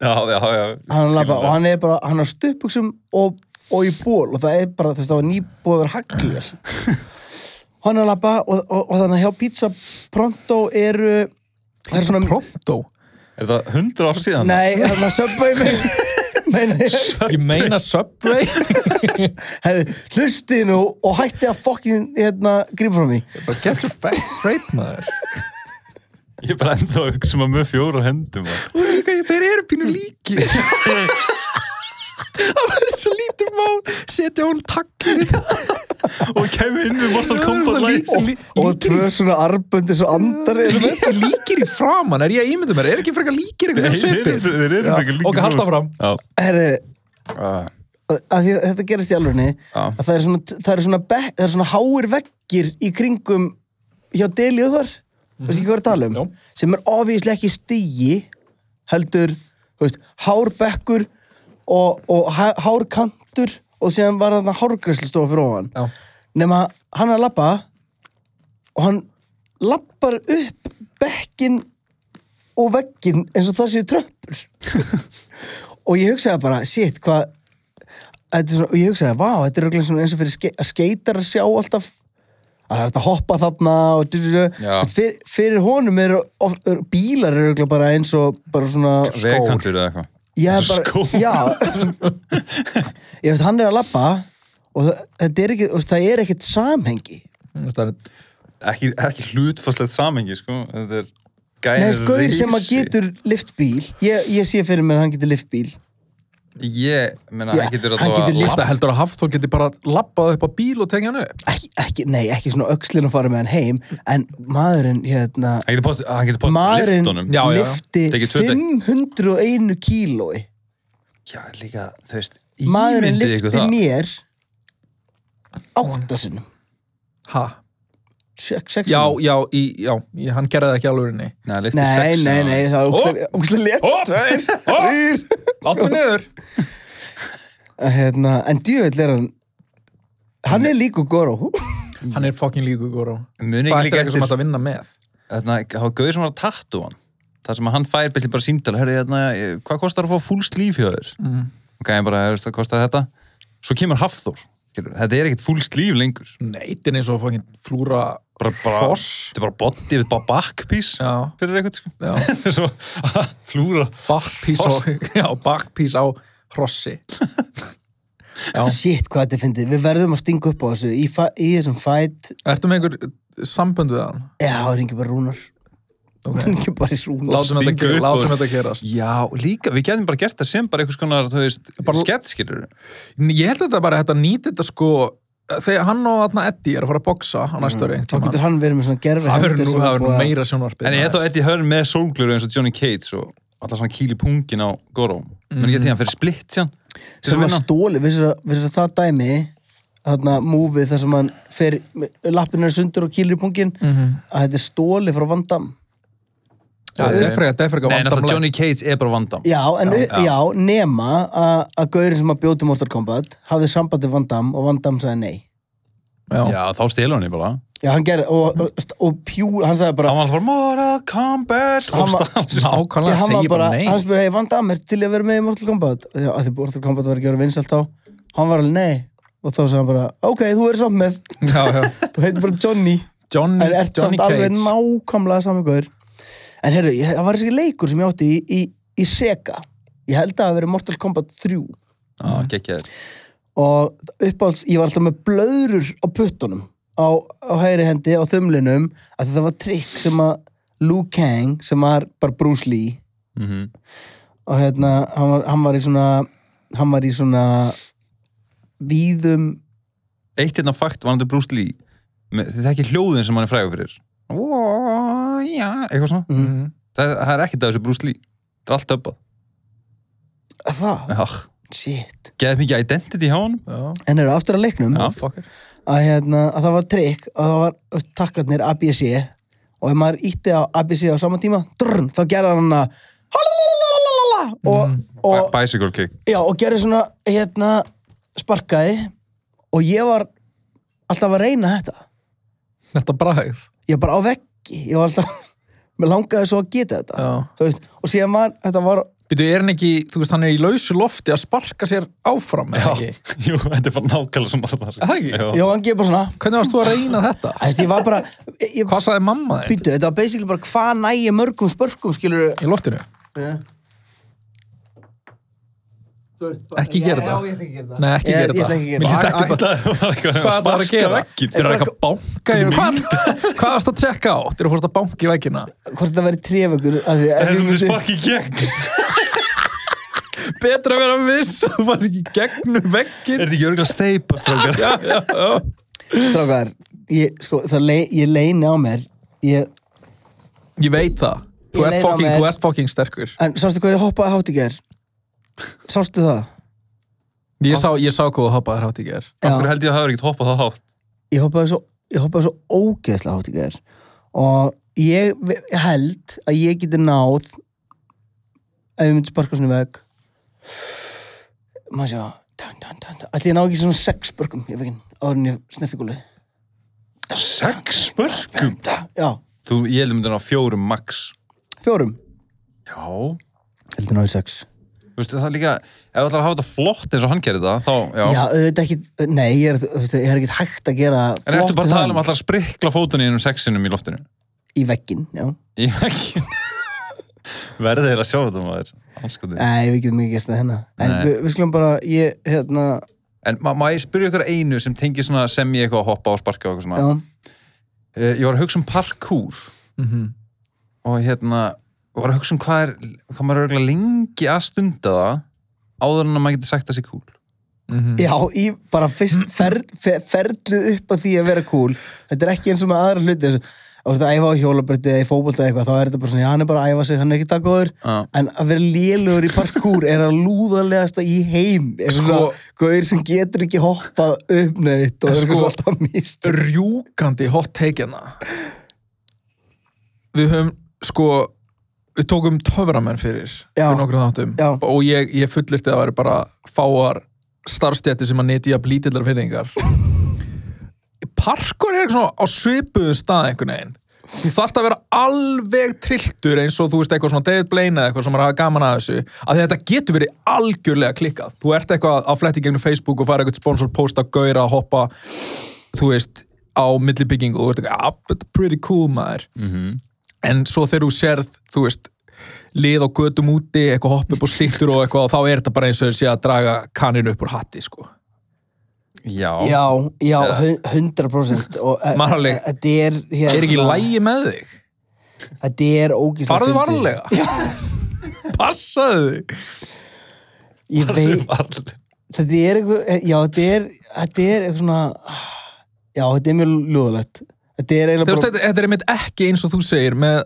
[SPEAKER 3] Já, já, já.
[SPEAKER 1] hann labba, og hann er bara, hann er á stuppuksum og, og í ból og það er bara, þú veist, það var nýbúið að vera hagljus hann er að labba og, og, og þannig að hjá Pizza Pronto eru það er svona,
[SPEAKER 4] pronto
[SPEAKER 3] Er það hundra ár síðan?
[SPEAKER 1] nei, þannig að söpbaði mig meini,
[SPEAKER 4] ég meina Subway
[SPEAKER 1] herri, hlusti nú og hætti að fokkin, hérna, grípa frá mig
[SPEAKER 4] bara get your facts straight maður
[SPEAKER 3] Ég er bara ennþá að hugsa maður með fjóru hendum. maður.
[SPEAKER 4] þeir eru pínu líki það er svo lítið mál setja hún takkir
[SPEAKER 3] Og kemur inn við Mortal Kombat læg.
[SPEAKER 1] og, og tvö svona arböndi svo andar eru með
[SPEAKER 4] líkir, líkir í framan er ég að ímynda mér, er ekki frekar líkir
[SPEAKER 3] Þeir
[SPEAKER 4] eitthvað
[SPEAKER 3] eru
[SPEAKER 4] svipir
[SPEAKER 3] þeir eru frekar líku.
[SPEAKER 4] ok, halda áfram.
[SPEAKER 3] Já.
[SPEAKER 1] herri,
[SPEAKER 3] Ah.
[SPEAKER 1] að að því að þetta gerist í alvegni
[SPEAKER 3] Já.
[SPEAKER 1] að það er svona, það er svona, bek, það er svona háir veggir í kringum hjá Deli og þar mm -hmm. ekki hvað er að tala um,
[SPEAKER 4] Já.
[SPEAKER 1] sem er ofíslega ekki stigi heldur, þú veist, hár bekkur og, og há- hár kantur og síðan var þarna hárgræslu stofa fyrir ofan
[SPEAKER 4] Já.
[SPEAKER 1] nema hann er að labba og hann lappar upp bekkin og veggin eins og það séu tröppur og ég hugsaði bara, shit, hvað þetta er svona, og ég hugsaði, vá, þetta er örugglega svona eins og fyrir ske, að skeitar sjá alltaf að það er hægt að hoppa þarna og dyrir,
[SPEAKER 3] Já.
[SPEAKER 1] fyrir, fyrir honum eru of- eru- bílar eru örugglega bara eins og bara svona
[SPEAKER 3] Vegantur eða eitthvað.
[SPEAKER 1] ég er
[SPEAKER 3] Eins og
[SPEAKER 1] bara,
[SPEAKER 3] skór.
[SPEAKER 1] já ég veist, hann er að labba og það, þetta er ekki, þú veist, það er ekkert samhengi
[SPEAKER 4] það er
[SPEAKER 3] Ekki, ekki hlutfastlegt samengi, sko. Þetta er gæri
[SPEAKER 1] Nei, skauð sem að getur lift bíl ég, ég sé fyrir mér að hann getur lift bíl
[SPEAKER 3] Ég, menna,
[SPEAKER 1] Já,
[SPEAKER 3] hann getur
[SPEAKER 1] hann
[SPEAKER 3] allavega-
[SPEAKER 1] getur lyft-
[SPEAKER 4] Þetta heldur að Hafþór geti bara lappað upp á bíl og tengja hann upp.
[SPEAKER 1] ekki, ekki, nei, ekki svona öxlin að fara með hann heim en maðurinn, hérna
[SPEAKER 3] Hann getur pott, hann getur pott
[SPEAKER 1] maðurinn
[SPEAKER 3] liftunum.
[SPEAKER 4] Já, já.
[SPEAKER 1] lifti
[SPEAKER 3] Tekið tvö dekk.
[SPEAKER 1] 501 kílói
[SPEAKER 3] Já, líka, þú veist,
[SPEAKER 1] maðurinn
[SPEAKER 3] ímyndið ykkur
[SPEAKER 1] lifti
[SPEAKER 3] það.
[SPEAKER 1] mér áttasunum
[SPEAKER 4] Ha? Já,
[SPEAKER 1] sexunum
[SPEAKER 4] já, í, já, í, hann gerði það ekki alveg henni.
[SPEAKER 3] Nei, hann lifti
[SPEAKER 1] nei,
[SPEAKER 3] sex.
[SPEAKER 1] nei, nei, það
[SPEAKER 4] Ó.
[SPEAKER 1] var ógustlega létt
[SPEAKER 4] Ó.
[SPEAKER 1] tveir,
[SPEAKER 4] Ó.
[SPEAKER 1] þrír.
[SPEAKER 4] Látt mig niður.
[SPEAKER 1] Að hérna, en djöfell er hann hann er líku Goro
[SPEAKER 4] Hann er fucking líku góru.
[SPEAKER 3] Muni
[SPEAKER 4] Það
[SPEAKER 3] ekki
[SPEAKER 4] er
[SPEAKER 3] líka
[SPEAKER 4] ekki eitthvað sem
[SPEAKER 3] eftir,
[SPEAKER 4] hægt að vinna með.
[SPEAKER 3] þarna, það var gauð sem var að tattu hann. Það sem að hann fær byrja bara símtala, herri, þarna, eh, hvað kostar að fá full sleeve hjá þér?
[SPEAKER 4] Mm.
[SPEAKER 3] Ok, ég bara, herri, það kostar þetta. Svo kemur Hafþór. skilurðu. Þetta er ekkert full sleeve lengur.
[SPEAKER 4] Nei, þetta er eins og fucking flúra
[SPEAKER 3] Bara, bara,
[SPEAKER 4] Hross.
[SPEAKER 3] þetta er bara body with bara backpiece
[SPEAKER 4] Já.
[SPEAKER 3] fyrir eitthvað, sko.
[SPEAKER 4] Já.
[SPEAKER 3] Svo, flúra.
[SPEAKER 4] bakpís á, já, bakpís á hrossi. Já.
[SPEAKER 1] shit hvað þetta er fyndið, við verðum að stinga upp á þessu í, fa- í þessum fætt
[SPEAKER 4] Ertu með einhver sambönd við hann?
[SPEAKER 1] já, það er bara rúnar
[SPEAKER 4] Ok.
[SPEAKER 1] hann er bara í rúnar
[SPEAKER 4] Látum þetta,
[SPEAKER 3] Stinga
[SPEAKER 4] gera-
[SPEAKER 3] upp og-
[SPEAKER 4] látum þetta gerast.
[SPEAKER 3] Já, líka, við getum bara gert það sem bara eitthvað skonar, þú veist,
[SPEAKER 4] Bara-
[SPEAKER 3] sketskilur.
[SPEAKER 4] Ég held að þetta bara, þetta nýti þetta sko, þegar hann og þarna Eddie er að fara að boksa á næstu ári.
[SPEAKER 1] þá getur Mm. hann verið með svona gerfi
[SPEAKER 4] Það verður nú, það verður nú meira sjónvarpið.
[SPEAKER 3] En ég er þá Eddie Hearn með sólglöru eins og Johnny Cates og alltaf svona kýli pungin á Goró. Mm. Menn getið hann fyrir splitt sján.
[SPEAKER 1] sem að stóli, við þess að það dæmi þarna múfið þar sem hann fer lappinu er sundur og kýlir í pungin að þetta er stóli frá vandam
[SPEAKER 4] Já, það er frekar, það er frekar
[SPEAKER 3] Nei, náttúrulega
[SPEAKER 4] vandamlega.
[SPEAKER 3] Johnny Cates er bara vandam.
[SPEAKER 1] já, en já, já. nema að, að gaurin sem að bjóti Mortal Kombat hafði sambandi vandam og vandam sagði nei
[SPEAKER 4] Já.
[SPEAKER 3] Já, þá stelur hann ég bara.
[SPEAKER 1] já, hann gerði, og, og, og pjú, hann sagði bara
[SPEAKER 3] Hann var alltaf bara Mortal Kombat og
[SPEAKER 1] Hann var-
[SPEAKER 3] stans.
[SPEAKER 1] Já,
[SPEAKER 4] Nákvæmlega
[SPEAKER 1] hann var
[SPEAKER 4] segir
[SPEAKER 1] bara,
[SPEAKER 4] bara nei
[SPEAKER 1] hann spurði, hei, Van Damme, er til í að vera með í Mortal Kombat? Já, að því Mortal Kombat var ekki að vera vinsalt á. Hann var alveg, nei. Og þá sagði hann bara, ok, þú er samt með,
[SPEAKER 4] já, já.
[SPEAKER 1] þú heitir bara Johnny.
[SPEAKER 4] John,
[SPEAKER 1] En ert
[SPEAKER 4] Mm, Johnny
[SPEAKER 1] samt alveg
[SPEAKER 4] Cates
[SPEAKER 1] nákvæmlega saman ykkur. En heyrðu, ég- það var þessi leikur sem ég átti í, í, í Sega. ég held að það hafi verið Mortal Kombat 3
[SPEAKER 3] Já, gekkjaður.
[SPEAKER 1] og uppáhalds, ég var alltaf með blöðrur á puttunum á, á hægri hendi, á þumlinum að þetta var trikk sem að Liu Kang, sem var bara Bruce Lee
[SPEAKER 3] Mm
[SPEAKER 1] og hérna, hann var, hann var í svona hann var í svona víðum
[SPEAKER 3] Eitt hérna fakt var hann til Bruce Lee. Með- Þetta er ekki hljóðin sem hann er frægur fyrir. Ó, já, eitthvað svona.
[SPEAKER 4] mm.
[SPEAKER 3] Það, það er ekkert af þessu Bruce Lee. Það er allt öppað.
[SPEAKER 1] að það,
[SPEAKER 3] Já,
[SPEAKER 1] shit
[SPEAKER 3] geðið mikið identity hjá hann.
[SPEAKER 4] Já,
[SPEAKER 1] en eru aftur að leiknum
[SPEAKER 3] Já.
[SPEAKER 4] fucker
[SPEAKER 1] að, hérna, að það var trikk að það var þú veist, takkarnir ABC og ef maður ítti á ABC á sama tíma drrn, þá gerði hann að halalalalala og,
[SPEAKER 4] Mm.
[SPEAKER 1] og,
[SPEAKER 3] Bicycle kick.
[SPEAKER 1] já, og gerði svona hérna, sparkaði og ég var alltaf að reyna þetta
[SPEAKER 4] Þetta bragð
[SPEAKER 1] ég var bara á veggi ég var alltaf, mér langaði svo að geta þetta
[SPEAKER 4] Já.
[SPEAKER 1] Þú veist, og síðan var, þetta var
[SPEAKER 4] Býtu, er hann ekki, þú veist, hann er í lausu lofti að sparka sér áfram, eða
[SPEAKER 3] Já,
[SPEAKER 4] ekki?
[SPEAKER 3] jú, þetta er bara nákvæmlega svona þar.
[SPEAKER 4] Er það ekki?
[SPEAKER 1] já, hann gefur bara svona
[SPEAKER 4] Hvernig varst þú að reyna þetta?
[SPEAKER 1] Æ, þú veist, ég var bara, ég,
[SPEAKER 4] Hvað sagði mamma þér
[SPEAKER 1] býtu, þetta var basically bara hvað nægja mörgum spörkum skilur
[SPEAKER 4] í loftinu? Ekki gera þetta.
[SPEAKER 1] ég ætla ekki að gera
[SPEAKER 4] Nei, ekki
[SPEAKER 1] Ég- ég
[SPEAKER 4] gera
[SPEAKER 1] ætla
[SPEAKER 4] þetta.
[SPEAKER 1] ekki að gera
[SPEAKER 4] Mér líst
[SPEAKER 3] Æ-
[SPEAKER 4] ekki
[SPEAKER 3] ætlaði
[SPEAKER 4] bara
[SPEAKER 3] það var eitthvað að
[SPEAKER 4] hvað það var að
[SPEAKER 3] sparka
[SPEAKER 4] gera.
[SPEAKER 3] vegginn.
[SPEAKER 4] Þeir eru eitthvað að banka í hvað? Hvað varst að tjekka á? Þeir eru fórst að banka í veggina.
[SPEAKER 1] hvort það væri trefögur að því að
[SPEAKER 3] Það er
[SPEAKER 1] ég
[SPEAKER 3] svona
[SPEAKER 1] myndi
[SPEAKER 3] sparki gegn.
[SPEAKER 4] Betra að vera viss og var ekki gegnum
[SPEAKER 3] Er
[SPEAKER 4] veggin.
[SPEAKER 3] þetta ekki örgulega steipa, strákar?
[SPEAKER 4] Já, já, já.
[SPEAKER 1] strákar, ég, sko, það le, ég leini á mér ég,
[SPEAKER 4] Ég veit það.
[SPEAKER 1] Ég
[SPEAKER 4] Þú ert
[SPEAKER 1] leið á
[SPEAKER 4] fucking,
[SPEAKER 1] mér.
[SPEAKER 4] þú ert fucking sterkur.
[SPEAKER 1] en sástu hvað ég hoppaði hátt í ger sástu það?
[SPEAKER 4] Ég sá, ég sá hvað þú hoppaði hrátt í ger.
[SPEAKER 3] Akkur held ég að það er ekkert hoppað það hátt.
[SPEAKER 1] ég hoppaði svo, ég hoppaði svo ógeðslega hátt í ger og ég ve- held að ég geti náð ef ég myndi sparka svona í veg maður sjá tan, tan, tan, tan. ætli ég ná ekki svona sex spörkum ég veginn, árin ég snerti gólið
[SPEAKER 3] Sex spörkum?
[SPEAKER 1] já,
[SPEAKER 3] Þú, ég heldur myndir ná fjórum max.
[SPEAKER 1] fjórum
[SPEAKER 3] Já.
[SPEAKER 1] heldur náði sex
[SPEAKER 3] Þú veist, það er líka, ef þú ætlar að hafa þetta flott eins og hann gerir það, þá, já.
[SPEAKER 1] Já, auðvitað ekki, nei, ég er, auðvitað, ég er ekki hægt að gera
[SPEAKER 3] En
[SPEAKER 1] flott
[SPEAKER 3] eftir bara að tala
[SPEAKER 1] þann
[SPEAKER 3] um allar að sprikla fótunni innum sexinum í loftinu.
[SPEAKER 1] Í vegginn, já
[SPEAKER 3] Í veggin. Verðið er að sjá þetta maður. Anskotin.
[SPEAKER 1] Nei, við getum ekki gert það hérna En
[SPEAKER 3] Nei.
[SPEAKER 1] við, við skulum bara, ég, hérna,
[SPEAKER 3] En má, má ég spyrja ykkur einu sem tengir svona sem ég eitthvað að hoppa og sparka og eitthvað svona.
[SPEAKER 1] já
[SPEAKER 3] Eh, Ég var að hugsa um parkour
[SPEAKER 4] Mhm.
[SPEAKER 3] og hérna, var að hugsa um hvað er, hvað maður er örgulega lengi að stunda það áður en að maður getur sagt að það sé cool.
[SPEAKER 4] Mhm.
[SPEAKER 1] Já, í bara fyrst
[SPEAKER 4] Mm.
[SPEAKER 1] fer, fer, ferlið upp að því að vera cool Þetta er ekki eins og með aðra hluti þessu- Þú veist að æfa á hjólabretti eða í fótbolta eða eitthvað Þá er þetta bara svona, já, hann er bara að æfa sig, hann er ekki það góður
[SPEAKER 3] Já.
[SPEAKER 1] En að vera lélugur í parkour er að lúðarlegasta í heim
[SPEAKER 4] Sko-
[SPEAKER 1] Sko Gauður sem getur ekki hoppað upp neitt Og er
[SPEAKER 4] Sko-
[SPEAKER 1] sko, alltaf mist
[SPEAKER 4] rjúkandi hot take hérna við höfum sko við tókum töframenn fyrir
[SPEAKER 1] Já.
[SPEAKER 4] fyrir nokkrum þáttum
[SPEAKER 1] Já.
[SPEAKER 4] og ég, ég fullirti að það væri bara fáar starfstjætti sem að nýti að blítillar fyrringar parkur er eitthvað svona á svipuðu stað einhvern veginn þú þarft að vera alveg trilltur eins og þú veist eitthvað svona David Blaine eða eitthvað sem er að hafa gaman að þessu af því að þetta getur verið algjörlega klikkað þú ert eitthvað að fletti gegnum Facebook og fara eitthvað sponsor post að gauðra að hoppa þú veist, á millibyggingu og þú ert eitthvað, ah, but pretty cool maður en svo þegar þú serð þú veist, lið á götum úti eitthvað hopp upp og slittur og eitthvað og þá er þetta bara eins og þeir sé að draga kaninu upp úr hatti, sko.
[SPEAKER 3] Já.
[SPEAKER 1] Já, já, hun- 100% og e-
[SPEAKER 4] Marley.
[SPEAKER 1] e- Þetta er hérna,
[SPEAKER 4] Er ekki lægi með þig?
[SPEAKER 1] Þetta er ógíslega
[SPEAKER 4] Farðu varlega Passaðu þig
[SPEAKER 1] Ég veit,
[SPEAKER 3] Varlega.
[SPEAKER 1] þetta er eitthvað Já, þetta er, þetta er eitthvað svona Já, þetta er mjög lúðulegt Þetta er
[SPEAKER 4] Þú
[SPEAKER 1] eiginlega
[SPEAKER 4] veist,
[SPEAKER 1] bara
[SPEAKER 4] þetta, þetta er einmitt ekki eins og þú segir með,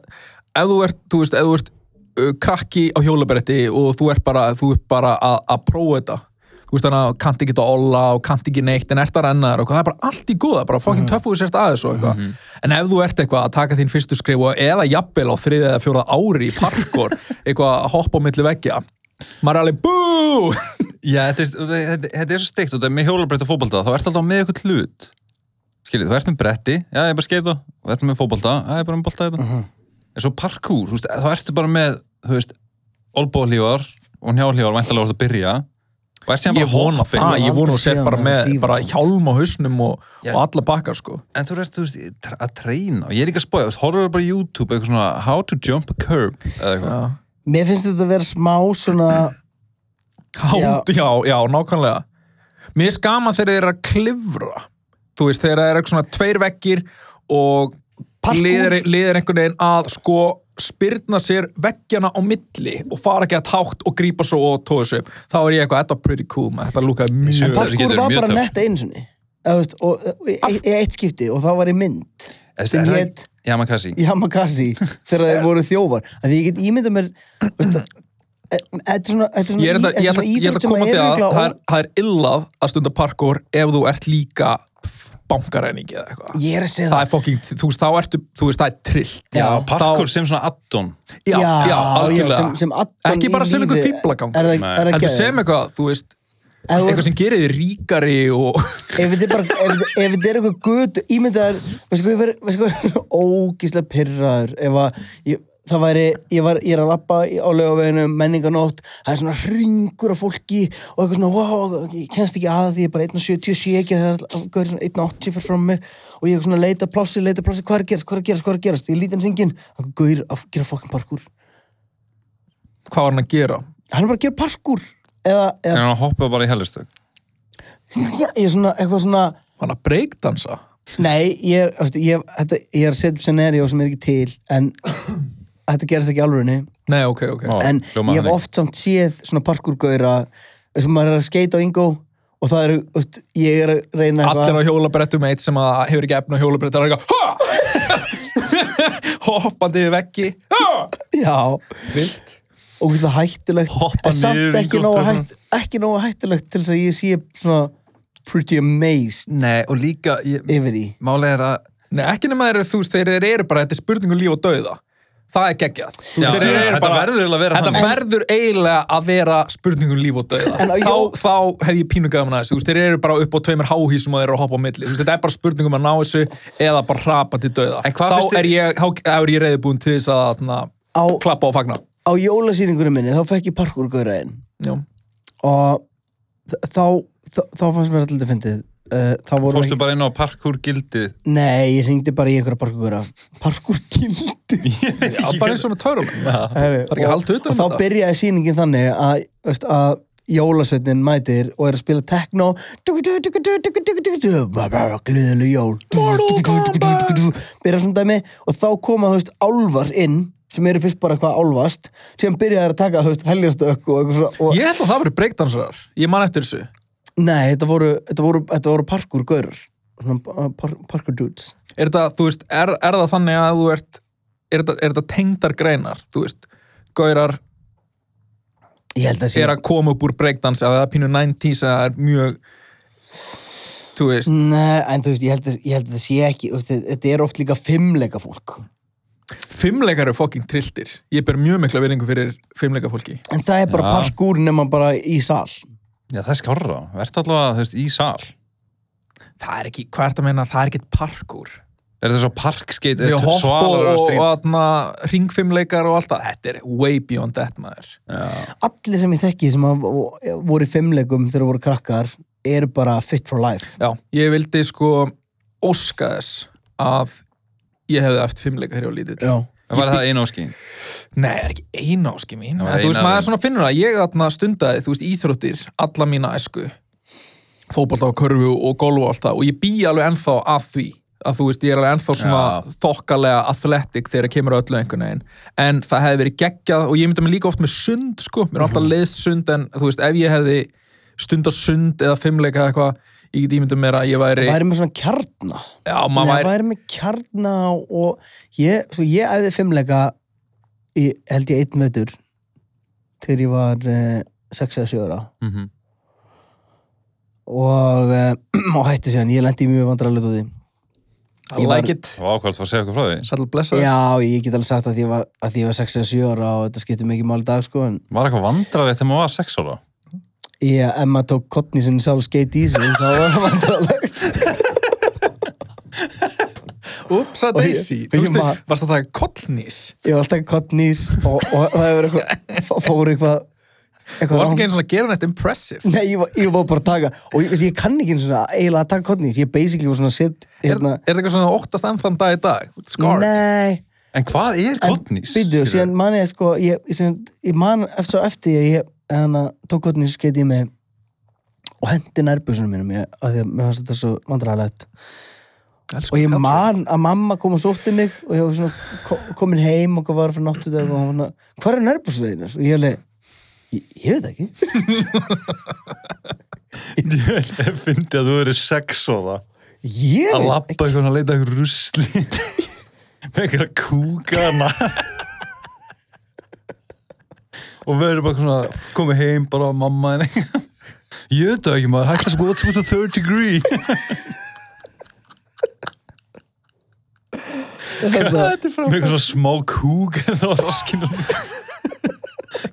[SPEAKER 4] ef þú ert, þú veist, ef þú ert uh, krakki á hjólabretti og þú ert bara, þú ert bara að, að prófa þetta þú veist þannig að kannt ekki þetta olla og kannt ekki neitt en ert að renna þér og eitthvað, það er bara allt í góða bara fokkin töffuðu sért aðeins og eitthvað en ef þú ert eitthvað að taka þín fyrstu skrif og eða jafnvel á þriðið eða fjóra ári í parkour eitthvað að hoppa á milli veggja maður er alveg bú
[SPEAKER 3] Já, þetta er, þetta, þetta er svo steikt og þetta er með hjólabreytta og fótbolta, þá ertu alltaf með eitthvað hlut skiljið, þú ert með bretti já, ég er bara skeita, þú ert með fótbolta já, ég er bara með bolta þetta, en svo parkour þú veist, þá ertu bara með, þú veist olbóhlífar og njálífar væntalega voru að byrja og ert síðan
[SPEAKER 4] ég
[SPEAKER 3] bara
[SPEAKER 4] vona
[SPEAKER 3] hopping.
[SPEAKER 4] það, ég vona þú sér
[SPEAKER 1] Aldrei
[SPEAKER 4] bara
[SPEAKER 1] séð
[SPEAKER 4] með
[SPEAKER 1] maður
[SPEAKER 4] bara
[SPEAKER 1] hlífa.
[SPEAKER 4] hjálm á hausnum og,
[SPEAKER 3] Já.
[SPEAKER 4] og alla bakkar sko
[SPEAKER 3] en þú ert, þú veist, tr- að treyna og ég er ekki að spója, þú veist, horfður bara á YouTube eitthvað svona, how to jump a curb eða eitthvað
[SPEAKER 4] Já.
[SPEAKER 1] Mér finnst þetta að vera smá svona
[SPEAKER 4] já, já, já nákvæmlega mér er skaman þegar þeir eru að klifra þú veist, þegar það eru eitthvað svona tveir veggir og
[SPEAKER 1] Parkour.
[SPEAKER 4] liðir, liðir einhvern veginn að sko spyrna sér veggjana á milli og fara ekki að tátt og grípa svo og tóða sér upp þá er ég eitthvað, þetta var pretty cool maður, þetta lúkaði
[SPEAKER 1] En
[SPEAKER 4] mjög
[SPEAKER 3] par- þessi
[SPEAKER 1] parkour
[SPEAKER 3] getur
[SPEAKER 1] var
[SPEAKER 3] mjög
[SPEAKER 1] bara
[SPEAKER 3] töff.
[SPEAKER 1] netta einu sinni Eða, þú veist, og, og, í, í eitt skipti og það var í mynd sem hétt
[SPEAKER 3] Yamakasi
[SPEAKER 1] í Hamakasi þegar þeir voru þjófar að því ég get ímynda mér veist, að- e- þetta er svona þetta er
[SPEAKER 4] ég er
[SPEAKER 1] svona
[SPEAKER 4] þetta-
[SPEAKER 1] í- þetta er svona
[SPEAKER 4] ég ætla ég ætla
[SPEAKER 1] íþrótt
[SPEAKER 4] að
[SPEAKER 1] sem
[SPEAKER 4] koma
[SPEAKER 1] er
[SPEAKER 4] til að
[SPEAKER 1] örugglega
[SPEAKER 4] það
[SPEAKER 1] ó-
[SPEAKER 4] er, það er illað að stunda parkour ef þú ert líka bankaræningi eða eitthvað
[SPEAKER 1] ég er að segja
[SPEAKER 4] það
[SPEAKER 1] það
[SPEAKER 4] er fokking, þú veist, þá ertu þú veist, það er trillt
[SPEAKER 1] Já,
[SPEAKER 3] Parkour sem svona addon
[SPEAKER 4] já, já, algjörlega
[SPEAKER 1] sem, sem addon
[SPEAKER 4] ekki bara
[SPEAKER 1] í
[SPEAKER 4] sem einhver
[SPEAKER 1] lífi.
[SPEAKER 4] fíblagang.
[SPEAKER 1] er það, er
[SPEAKER 3] Nei.
[SPEAKER 1] það
[SPEAKER 4] heldur
[SPEAKER 1] geðveikt?
[SPEAKER 4] sem eitthvað, þú veist
[SPEAKER 1] Ef þú
[SPEAKER 4] eitthvað
[SPEAKER 1] ert-
[SPEAKER 4] sem gerir þig ríkari og
[SPEAKER 1] ef þetta er bara ef þetta- ef þetta er eitthvað gut ímyndaðar veistu hvað ég verið veistu hvað ég verið ógíslega pyrraður ef að ég, það væri ég var ég er að lappa á laugaveginu menninganótt það er svona hringur af fólki og eitthvað svona wow ég kennst ekki að því ég er bara 1.77 ekki það er all- gaur svona 1.80 fyrir fram mig og ég er svona að leita að plássi leita að plássi hvað er að gerast hvað er að gerast hvað er að gerast ég lítið hringin og gaur að gera fokkin parkour
[SPEAKER 4] hvað var hann að gera
[SPEAKER 1] hann er bara að gera parkour eða,
[SPEAKER 3] en
[SPEAKER 1] eða
[SPEAKER 3] hann hoppa bara í hellustök
[SPEAKER 1] ég er svona eitthvað svona
[SPEAKER 4] hann að breakdansa
[SPEAKER 1] Nei, ég er, ástu, ég, þetta, ég er að setja upp scenario sem er ekki til en þetta gerist ekki alvörinni
[SPEAKER 4] nei, ok, ok,
[SPEAKER 3] Ó.
[SPEAKER 1] en ég
[SPEAKER 3] hljómaði
[SPEAKER 1] hef
[SPEAKER 3] þannig.
[SPEAKER 1] oft samt séð svona parkurgauðra sem maður er að skeita á Ingo og það eru, ástu, ég er að reyna
[SPEAKER 4] allir á hjólabrettum eitt sem að hefur ekki efni á hjólabrettum er eitthvað "Ha!" hoppandi við veggi "Ha!"
[SPEAKER 1] Já,
[SPEAKER 4] vilt
[SPEAKER 1] og það hættulegt
[SPEAKER 3] Hoppa
[SPEAKER 1] en samt
[SPEAKER 3] niður
[SPEAKER 1] ekki
[SPEAKER 3] Ingo,
[SPEAKER 1] nógu,
[SPEAKER 3] tökum.
[SPEAKER 1] hætt, ekki nógu hættulegt til þess að ég sé svona pretty amazed
[SPEAKER 3] nei og líka
[SPEAKER 1] yfir í
[SPEAKER 3] málega er að
[SPEAKER 4] nei, ekki nema þeir eru, þú veist, þeir eru bara þetta er spurning um líf og dauða það er geggjað Þú
[SPEAKER 3] Já,
[SPEAKER 4] veist, þeir eru
[SPEAKER 3] þetta
[SPEAKER 4] bara-
[SPEAKER 3] verður eiginlega að vera
[SPEAKER 4] Þetta
[SPEAKER 3] þannig.
[SPEAKER 4] verður eiginlega að vera spurningum líf og dauða.
[SPEAKER 1] En á
[SPEAKER 4] Þá,
[SPEAKER 1] jó-
[SPEAKER 4] þá hef ég pínu gaman að þessu. Þú veist, þeir eru bara upp á tveimur háhísum og þeir eru að hoppa á milli. Þú veist, þetta er bara spurningum að ná þessu eða bara hrapa til dauða.
[SPEAKER 3] En hvað
[SPEAKER 4] Þá
[SPEAKER 3] finnst
[SPEAKER 4] er
[SPEAKER 3] þér-
[SPEAKER 4] ég, þá er ég reyðbúin til þess að na,
[SPEAKER 1] Á-
[SPEAKER 4] klappa og fagna.
[SPEAKER 1] Á jólasýningunum minni, þá fekk ég parkurgauðra einn
[SPEAKER 4] Já.
[SPEAKER 1] og þ- þá, þá, þá fannst mér alltaf fyndið Uh, þá voru
[SPEAKER 3] fórstu bara inn á parkour gildi
[SPEAKER 1] Nei, ég ringdi bara í einhverja parkúra Parkúrgildi
[SPEAKER 4] Já, bara eins og með törum. Það er ekki að halda
[SPEAKER 1] Og
[SPEAKER 4] utan um
[SPEAKER 1] þá
[SPEAKER 4] þetta.
[SPEAKER 1] byrjaði sýningin þannig að, veist, að jólasveitin mætir og er að spila techno Gleðileg jól Byrja svona dæmi og þá koma þú veist, álvar inn sem eru fyrst bara eitthvað álvast sem byrjaði að taka þú veist, helgjastökk og eitthvað svona og
[SPEAKER 4] Ég held að það verður breakdansarar. Ég man eftir þessu.
[SPEAKER 1] nei, þetta voru, þetta voru, þetta voru parkúrgörur eh, par, parkúrdudes
[SPEAKER 4] Er þetta, þú veist, er, er það þannig að þú ert, er þetta, er þetta tengdar greinar, þú veist, gaurar
[SPEAKER 1] ég held að sé
[SPEAKER 4] er að koma upp úr breakdance eða það er pínu 90s eða það er mjög þú veist
[SPEAKER 1] Nei, en þú veist, ég held að, ég held að það sé ekki þú veist, Þetta er oft líka fimmleika fólk
[SPEAKER 4] fimmleikar eru fucking trilltir ég ber mjög mikla verðingu fyrir fimmleika fólki
[SPEAKER 1] En það er bara
[SPEAKER 3] Já.
[SPEAKER 1] parkour nema bara í sal
[SPEAKER 3] já það er skárra verður allavega þú veist í sal
[SPEAKER 4] það er ekki, hvað er þetta að meina, það er ekkit parkour
[SPEAKER 3] er þetta svo eh, parkskeit
[SPEAKER 4] þegar hopp og,
[SPEAKER 3] svalara
[SPEAKER 4] og,
[SPEAKER 3] strít
[SPEAKER 4] og ringfimmleikar og allt það þetta er way beyond that maður
[SPEAKER 3] Já.
[SPEAKER 1] Allir sem ég þekki sem að vo- voru í fimmleikum þegar voru krakkar eru bara fit for life
[SPEAKER 4] já, ég vildi sko óska þess að ég hefði eftir fimmleika þegar ég var lítill
[SPEAKER 3] En var það einu áskýn
[SPEAKER 4] Nei, það er ekki eina áski mín.
[SPEAKER 3] Það var
[SPEAKER 4] En þú
[SPEAKER 3] ein
[SPEAKER 4] veist,
[SPEAKER 3] af
[SPEAKER 4] maður
[SPEAKER 3] þeim.
[SPEAKER 4] svona finnur það. Ég þarna stundaði, þú veist, íþróttir alla mína æsku. Fótbolta og körfu og golfu og allt það. Og ég bý alveg ennþá að því. Að þú veist, ég er alveg ennþá svona
[SPEAKER 3] Já.
[SPEAKER 4] þokkalega athletic þegar ég kemur að öllu einhvern veginn. En það hefði verið geggjað og ég myndi mig líka oft með sund, sko. Mér er alltaf leiðst sund en þú veist, ef ég hefði stunda sund eða fimmleika eða eitthvað, ég get ímyndum mér að ég væri...
[SPEAKER 1] Væri með svona kjarna
[SPEAKER 4] já,
[SPEAKER 1] Nei,
[SPEAKER 4] maður væri...
[SPEAKER 1] væri með kjarna og ég, svo ég æði fimmleika í, held ég einn vetur þegar ég var eh, 6 eða 7 ára
[SPEAKER 3] Mhm.
[SPEAKER 1] og, eh, og hætti sér ég lendi í mjög vandrarlega út af því
[SPEAKER 4] I
[SPEAKER 1] ég
[SPEAKER 4] like
[SPEAKER 1] væri-
[SPEAKER 4] it.
[SPEAKER 3] það var ákvæmt að segja okkur frá því
[SPEAKER 4] Sæll blessaður.
[SPEAKER 1] Já, ég get alveg sagt að því ég var, að því ég var 6 eða 7 ára og þetta skiptir mikið mál í dag sko en
[SPEAKER 3] var eitthvað vandrarið þegar maður var sex ára
[SPEAKER 1] ég, ef maður tók kottni sinni sál skeit í sig þá var það vandralegt
[SPEAKER 4] Upsa
[SPEAKER 1] Og ég-
[SPEAKER 4] Daisy,
[SPEAKER 1] og
[SPEAKER 4] þú
[SPEAKER 1] ég
[SPEAKER 4] veist,
[SPEAKER 1] ma-
[SPEAKER 4] varst að taka kollnís?
[SPEAKER 1] Ég var alltaf kottnís og, og það hefur eitthvað fó- fór eitthvað
[SPEAKER 4] Þú
[SPEAKER 1] eitthvað
[SPEAKER 4] varst ekki
[SPEAKER 1] rangt.
[SPEAKER 4] eins og að gera neitt impressive.
[SPEAKER 1] Nei, ég var, ég var bara að taka og ég, veist, ég kann ekki eins og svona eiginlega að taka kottnís ég basically var svona sitt
[SPEAKER 4] Er, er
[SPEAKER 1] hérna,
[SPEAKER 4] þetta eitthvað svona óttast ennþann dag í dag? Scarred?
[SPEAKER 1] Nei,
[SPEAKER 3] en hvað er
[SPEAKER 1] en
[SPEAKER 3] kottnís
[SPEAKER 1] býttu, síðan man ég sko ég, ég, sem- ég man eftir, eftir ég, hann að tók hvernig skeiti í mig og hendi nærbjörsunum mínum ég, að því að mér fannst þetta svo vandrarlegt og ég man að mamma kom og sótti mig og ég var svona ko- komin heim og var fyrir náttu dag og hann var svona hvað er nærbjörsunum og ég alveg ég, ég veit það ekki
[SPEAKER 3] Ég fyndi að þú verið sex og það
[SPEAKER 1] ég
[SPEAKER 3] að
[SPEAKER 1] veit
[SPEAKER 3] lappa
[SPEAKER 1] ekki
[SPEAKER 3] eitthvað að leita eitthvað rusli með eitthvað kúkana og við erum bara svona komið heim bara að mamma en eitthvað ég veit það ekki maður, hætti að sko what's with the third degree
[SPEAKER 1] þetta
[SPEAKER 3] með eitthvað svona smá kúk en það var raskinu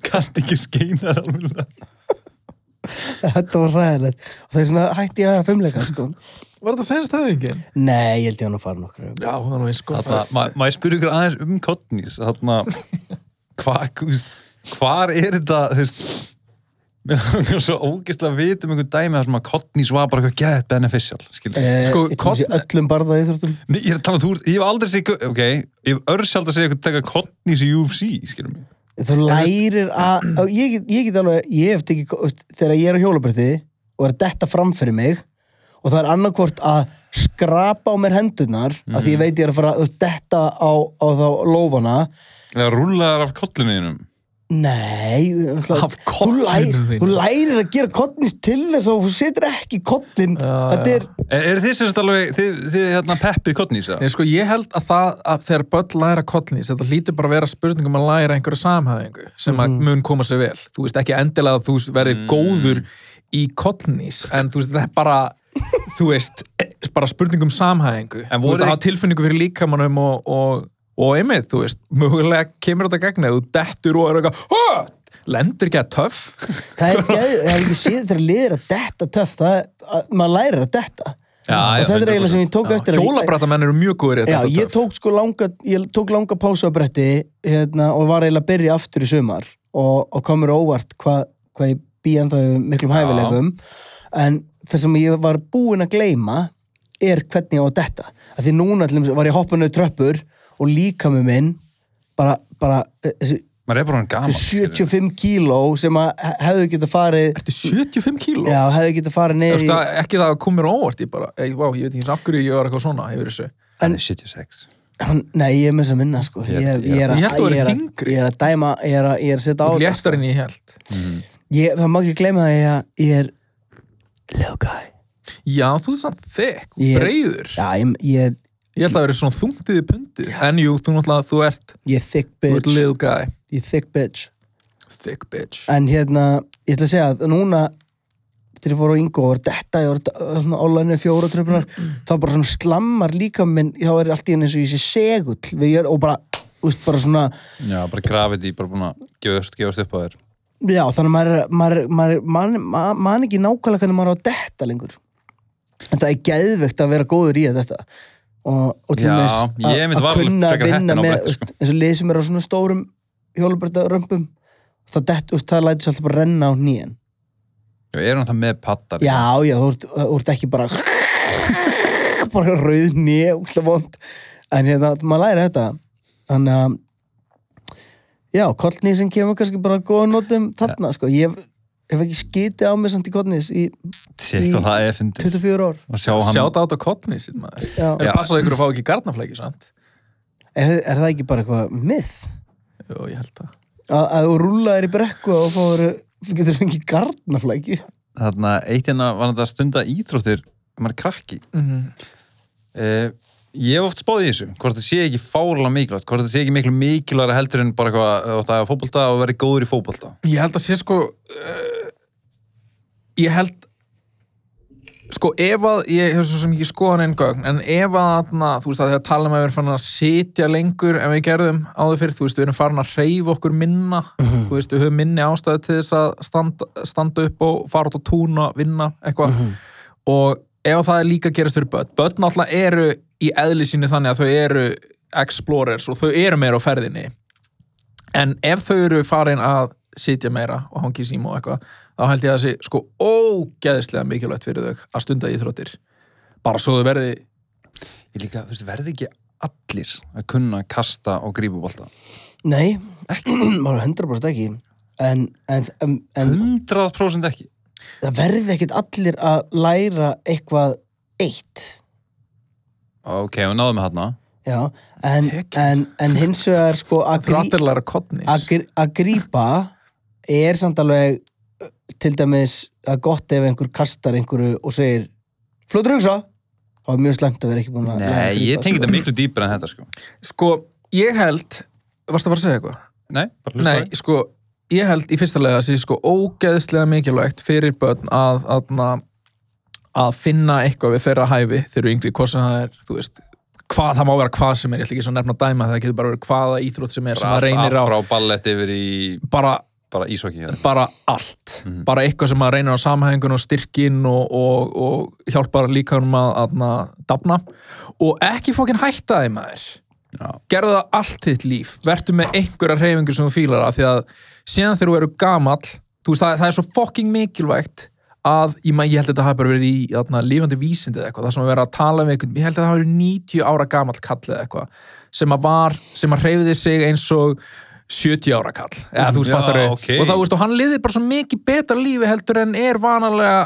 [SPEAKER 3] kannt ekki skeinar alveg
[SPEAKER 1] Þetta var ræðilegt og það er svona hætti ég að fimmleika sko.
[SPEAKER 4] Var þetta senst aðeingin?
[SPEAKER 1] Nei, ég held ég hann að fara nokkru
[SPEAKER 4] Já, það er nú eins sko
[SPEAKER 3] Þarna,
[SPEAKER 1] Eh,
[SPEAKER 3] ma- maður spyrir ykkur aðeins um Kotnís þarna, hvað, þú veist, hvar er þetta, þú veist, mér er svo ógeðslega að vita um einhver dæmi þar sem að Kotnís var bara eitthvað get beneficial, skilur.
[SPEAKER 1] eh,
[SPEAKER 4] Sko,
[SPEAKER 1] Ég kom sér
[SPEAKER 4] Kotn-
[SPEAKER 1] öllum barða í þurftum
[SPEAKER 3] Nei, ég er að tala um þú, ert- ég hef aldrei segið, ok, ég hef örsjald að segja eitthvað taka Kotnís í UFC, skilur mig.
[SPEAKER 1] Þú lærir að á- ég, get- ég get alveg, ég hef tekið þú veist, þegar ég er á hjólabrætti og er að detta fram fyrir mig og það er annarkvort að skrapa á mér hendurnar af
[SPEAKER 4] Mhm.
[SPEAKER 1] því ég veit ég er að fara þú veist, detta á, á þá lófana
[SPEAKER 3] Eða rúlaðar af kollinuðinum.
[SPEAKER 1] Nei, náttúrulega-
[SPEAKER 4] Af
[SPEAKER 1] þú, lærir,
[SPEAKER 4] kollinum þínum.
[SPEAKER 1] þú lærir að gera kottnins til þess að þú setur ekki kottin
[SPEAKER 4] Já,
[SPEAKER 1] Þetta
[SPEAKER 4] já.
[SPEAKER 1] er
[SPEAKER 3] E, Er, er þið sérst alveg, þið, þið hérna peppið Kotnís, eða?
[SPEAKER 1] Eh,
[SPEAKER 4] Nei, sko, ég held að það að þegar börn læra kollnýs, þetta hlýtur bara að vera spurningum að læra einhverju samhæðingu sem að
[SPEAKER 1] Mhm.
[SPEAKER 4] mun koma sér vel. Þú veist ekki endilega að þú verðir
[SPEAKER 3] Mm.
[SPEAKER 4] góður í kollnýs, en þú veist, þetta er bara, þú veist, eh, bara spurningum samhæðingu.
[SPEAKER 3] En
[SPEAKER 4] Þú
[SPEAKER 3] voru
[SPEAKER 4] veist að
[SPEAKER 3] þið-
[SPEAKER 4] hafa tilfinningu fyrir líkamanum og, og, og einmitt, þú veist, mögulega kemur þetta gegn eða þú dettur og er eitthvað, "Hó!" lendir ekki að töff.
[SPEAKER 1] Það er geð, það er ekki síður þegar liðir að detta töff, það er, að, maður lærir að detta.
[SPEAKER 3] Já, já,
[SPEAKER 1] og þetta er
[SPEAKER 3] 100%.
[SPEAKER 1] eiginlega sem ég tók eftir. að-
[SPEAKER 4] Hjólabrættamenn eru mjög góður í
[SPEAKER 1] Já,
[SPEAKER 4] þetta
[SPEAKER 1] ég tók sko langa, ég tók langa pásu á bretti hérna, og var eiginlega að byrja aftur í sumar og, og komur óvart hvað hva ég bý ennþá yfir miklum hæfilegum en það sem ég var búinn að gleyma er hvernig ég á að detta að því núna til dæmis var ég hoppað niður tröppur og líka með minn bara, bara eh, þessi
[SPEAKER 3] Maður er bara hann gaman,
[SPEAKER 1] 75 kíló sem að he- hefðu getað farið
[SPEAKER 4] Ertu 75 kíló?
[SPEAKER 1] Já, hefði getið að fara
[SPEAKER 4] Þú
[SPEAKER 1] niður
[SPEAKER 4] veist
[SPEAKER 1] í...
[SPEAKER 4] að ekki það að koma mér á óvart ég bara, ég, vá, ég veit ekki af hverju ég var eitthvað svona yfir þessu.
[SPEAKER 3] Hann er 76.
[SPEAKER 1] Hann- Nei, ég er með þess að minna, sko. Ég, ég, er, að,
[SPEAKER 4] Ég held þú værir
[SPEAKER 1] er að,
[SPEAKER 4] þyngri.
[SPEAKER 1] ég er að dæma, ég er að, ég er að setja á
[SPEAKER 4] og
[SPEAKER 1] þetta,
[SPEAKER 4] léttar en ég held
[SPEAKER 1] sko. Ég, það má ekki gleyma það að ég er little guy.
[SPEAKER 4] já, þú ert samt þekk,
[SPEAKER 1] Ég-
[SPEAKER 4] breyður
[SPEAKER 1] Já, ég, ég,
[SPEAKER 4] ég held að það verið svona þungtið í pundi en jú, þú náttúrulega, þú ert,
[SPEAKER 1] ég er thick
[SPEAKER 4] þú ert
[SPEAKER 1] bitch.
[SPEAKER 4] little guy
[SPEAKER 1] Ég er thick bitch.
[SPEAKER 4] thick bitch
[SPEAKER 1] En hérna, ég ætla að segja að núna, þegar ég fór á Ingo og var detta, ég var d- svona ólæðinu fjóra tröpunar, þá bara svona slammar líka minn, þá er allt í henni eins og ég sé segull við jörð og bara, þú veist, bara svona,
[SPEAKER 3] Já, bara grafið í, bara búin að gefast, gefast upp á þér.
[SPEAKER 1] já, þannig að maður, maður, maður man, man, man ekki nákvæmlega hvernig maður á að detta lengur. En það er geðvegt að vera góður í að þetta. Og, og til
[SPEAKER 3] Já,
[SPEAKER 1] dæmis að-
[SPEAKER 3] ég einmitt
[SPEAKER 1] að
[SPEAKER 3] var alveg
[SPEAKER 1] kunna að
[SPEAKER 3] frekar
[SPEAKER 1] vinna
[SPEAKER 3] heppinn á sko.
[SPEAKER 1] með,
[SPEAKER 3] bretti,
[SPEAKER 1] veist, eins og lið sem er á svona stórum hjólubrættarömpum, það dett, veist, það lætur sér alltaf bara renna á nýjan.
[SPEAKER 3] Já, er hann það með pattar?
[SPEAKER 1] Já, já, þú ert, þú ert ekki bara bara rauð nýja, úkslega vond. En hérna, maður læri þetta. Þannig að Já, kollnýs sem kemur kannski bara að góða notum þarna, sko. Ég hef ekki skitið á mig samt í kollnýs í
[SPEAKER 3] Sér hvað það er fyndið.
[SPEAKER 1] 24 ár.
[SPEAKER 3] Og sjá hann,
[SPEAKER 4] sjáta át á kottni sín maður
[SPEAKER 1] Já.
[SPEAKER 4] en passa ykkur að fá ekki garnaflæki sant?
[SPEAKER 1] Er, er það ekki bara eitthvað myð?
[SPEAKER 4] jú, ég held það
[SPEAKER 1] Að, að þú rúlaðir í brekku og fóru, getur fengið garnaflæki?
[SPEAKER 3] þarna, eitt hérna var þetta að stunda íþróttir, þegar maður er krakki.
[SPEAKER 4] Mhm.
[SPEAKER 3] Eh, ég hef oft spáð í þessu, hvort það sé ekki fárulega mikilvægt, hvort það sé ekki miklu mikilvægra heldur en bara eitthvað, ef þú ætti að hafa fótbolta og verið góður í fótbolta.
[SPEAKER 4] ég held að sé sko uh, ég held sko ef að ég hef svo sem ekki skoðan einn gögn en ef að na, þú veist að þegar tala um að við erum farin að sitja lengur en við gerðum áður fyrir þú veist við erum farin að hreyfa okkur minna þú veist við höfum minni ástæðu til þess að standa, standa upp og fara út á túna vinna eitthvað og ef að það er líka að gerast fyrir börn börn náttúrulega eru í eðli sínu þannig að þau eru explorers og þau eru meira á ferðinni En ef þau eru farin að sitja meira og hangi í síma og eitthvað þá held ég að það sé sko ógeðislega mikilvægt fyrir þau að stunda íþróttir bara svo þau verði
[SPEAKER 3] Ég líka, þú veist, verði ekki allir að kunna kasta og grípa bólta.
[SPEAKER 1] Nei, maður 100% ekki. en, en, en, en
[SPEAKER 3] 100% ekki
[SPEAKER 1] það verði ekkit allir að læra eitthvað eitt
[SPEAKER 3] ok, við náðum með þarna
[SPEAKER 1] já, en, en, en hins vegar sko að
[SPEAKER 4] Þú er allir að læra kodnis.
[SPEAKER 1] grí, að grípa er samt alveg uh, til dæmis að gott ef einhver kastar einhverju og segir fljótur hugsa þá er mjög slemt að vera ekki búin að læra að
[SPEAKER 3] nei,
[SPEAKER 1] grípa,
[SPEAKER 3] ég tengi
[SPEAKER 1] sko.
[SPEAKER 3] þetta miklu dýpar en þetta sko
[SPEAKER 4] Sko, ég held, varstu að fara að segja eitthvað?
[SPEAKER 3] nei, bara hlusta
[SPEAKER 4] Nei, sko, ég held í fyrsta lega að sé sko ógeðslega mikilvægt fyrir börn að, að, að finna eitthvað við þeirra hæfi þegar við yngri, hvað sem það er, þú veist, hvað það má vera hvað sem er, ég ætla ekki svo nefn að dæma það, það getur bara verið hvaða íþrótt sem er sem það
[SPEAKER 3] allt, allt
[SPEAKER 4] reynir á,
[SPEAKER 3] frá ballett yfir í
[SPEAKER 4] bara,
[SPEAKER 3] bara hérna. ísokki eða-
[SPEAKER 4] bara allt,
[SPEAKER 3] Mhm.
[SPEAKER 4] bara eitthvað sem að reynir á samhæfingun og styrkin og, og, og hjálpar líka um að, að, dafna og ekki fókin hætta þeim að þér
[SPEAKER 3] já,
[SPEAKER 4] gerðu það allt þitt líf vertu með einhverja reyfingu sem þú fílar af því að síðan þegar þú eru gamall þú veist, það, það er svo fucking mikilvægt að, ég, man- ég held að þetta hafi bara verið í þarna, lífandi vísindi eða eitthvað, það sem að vera að tala um einhvern, ég held að það hafi verið 90 ára gamall kall eða eitthvað, sem að var sem að reyfiði sig eins og 70 ára kall, eða þú veist
[SPEAKER 3] Já,
[SPEAKER 4] fattar
[SPEAKER 3] ok.
[SPEAKER 4] og þá veist, og hann liði bara svo mikið betra lífi heldur en er vanalega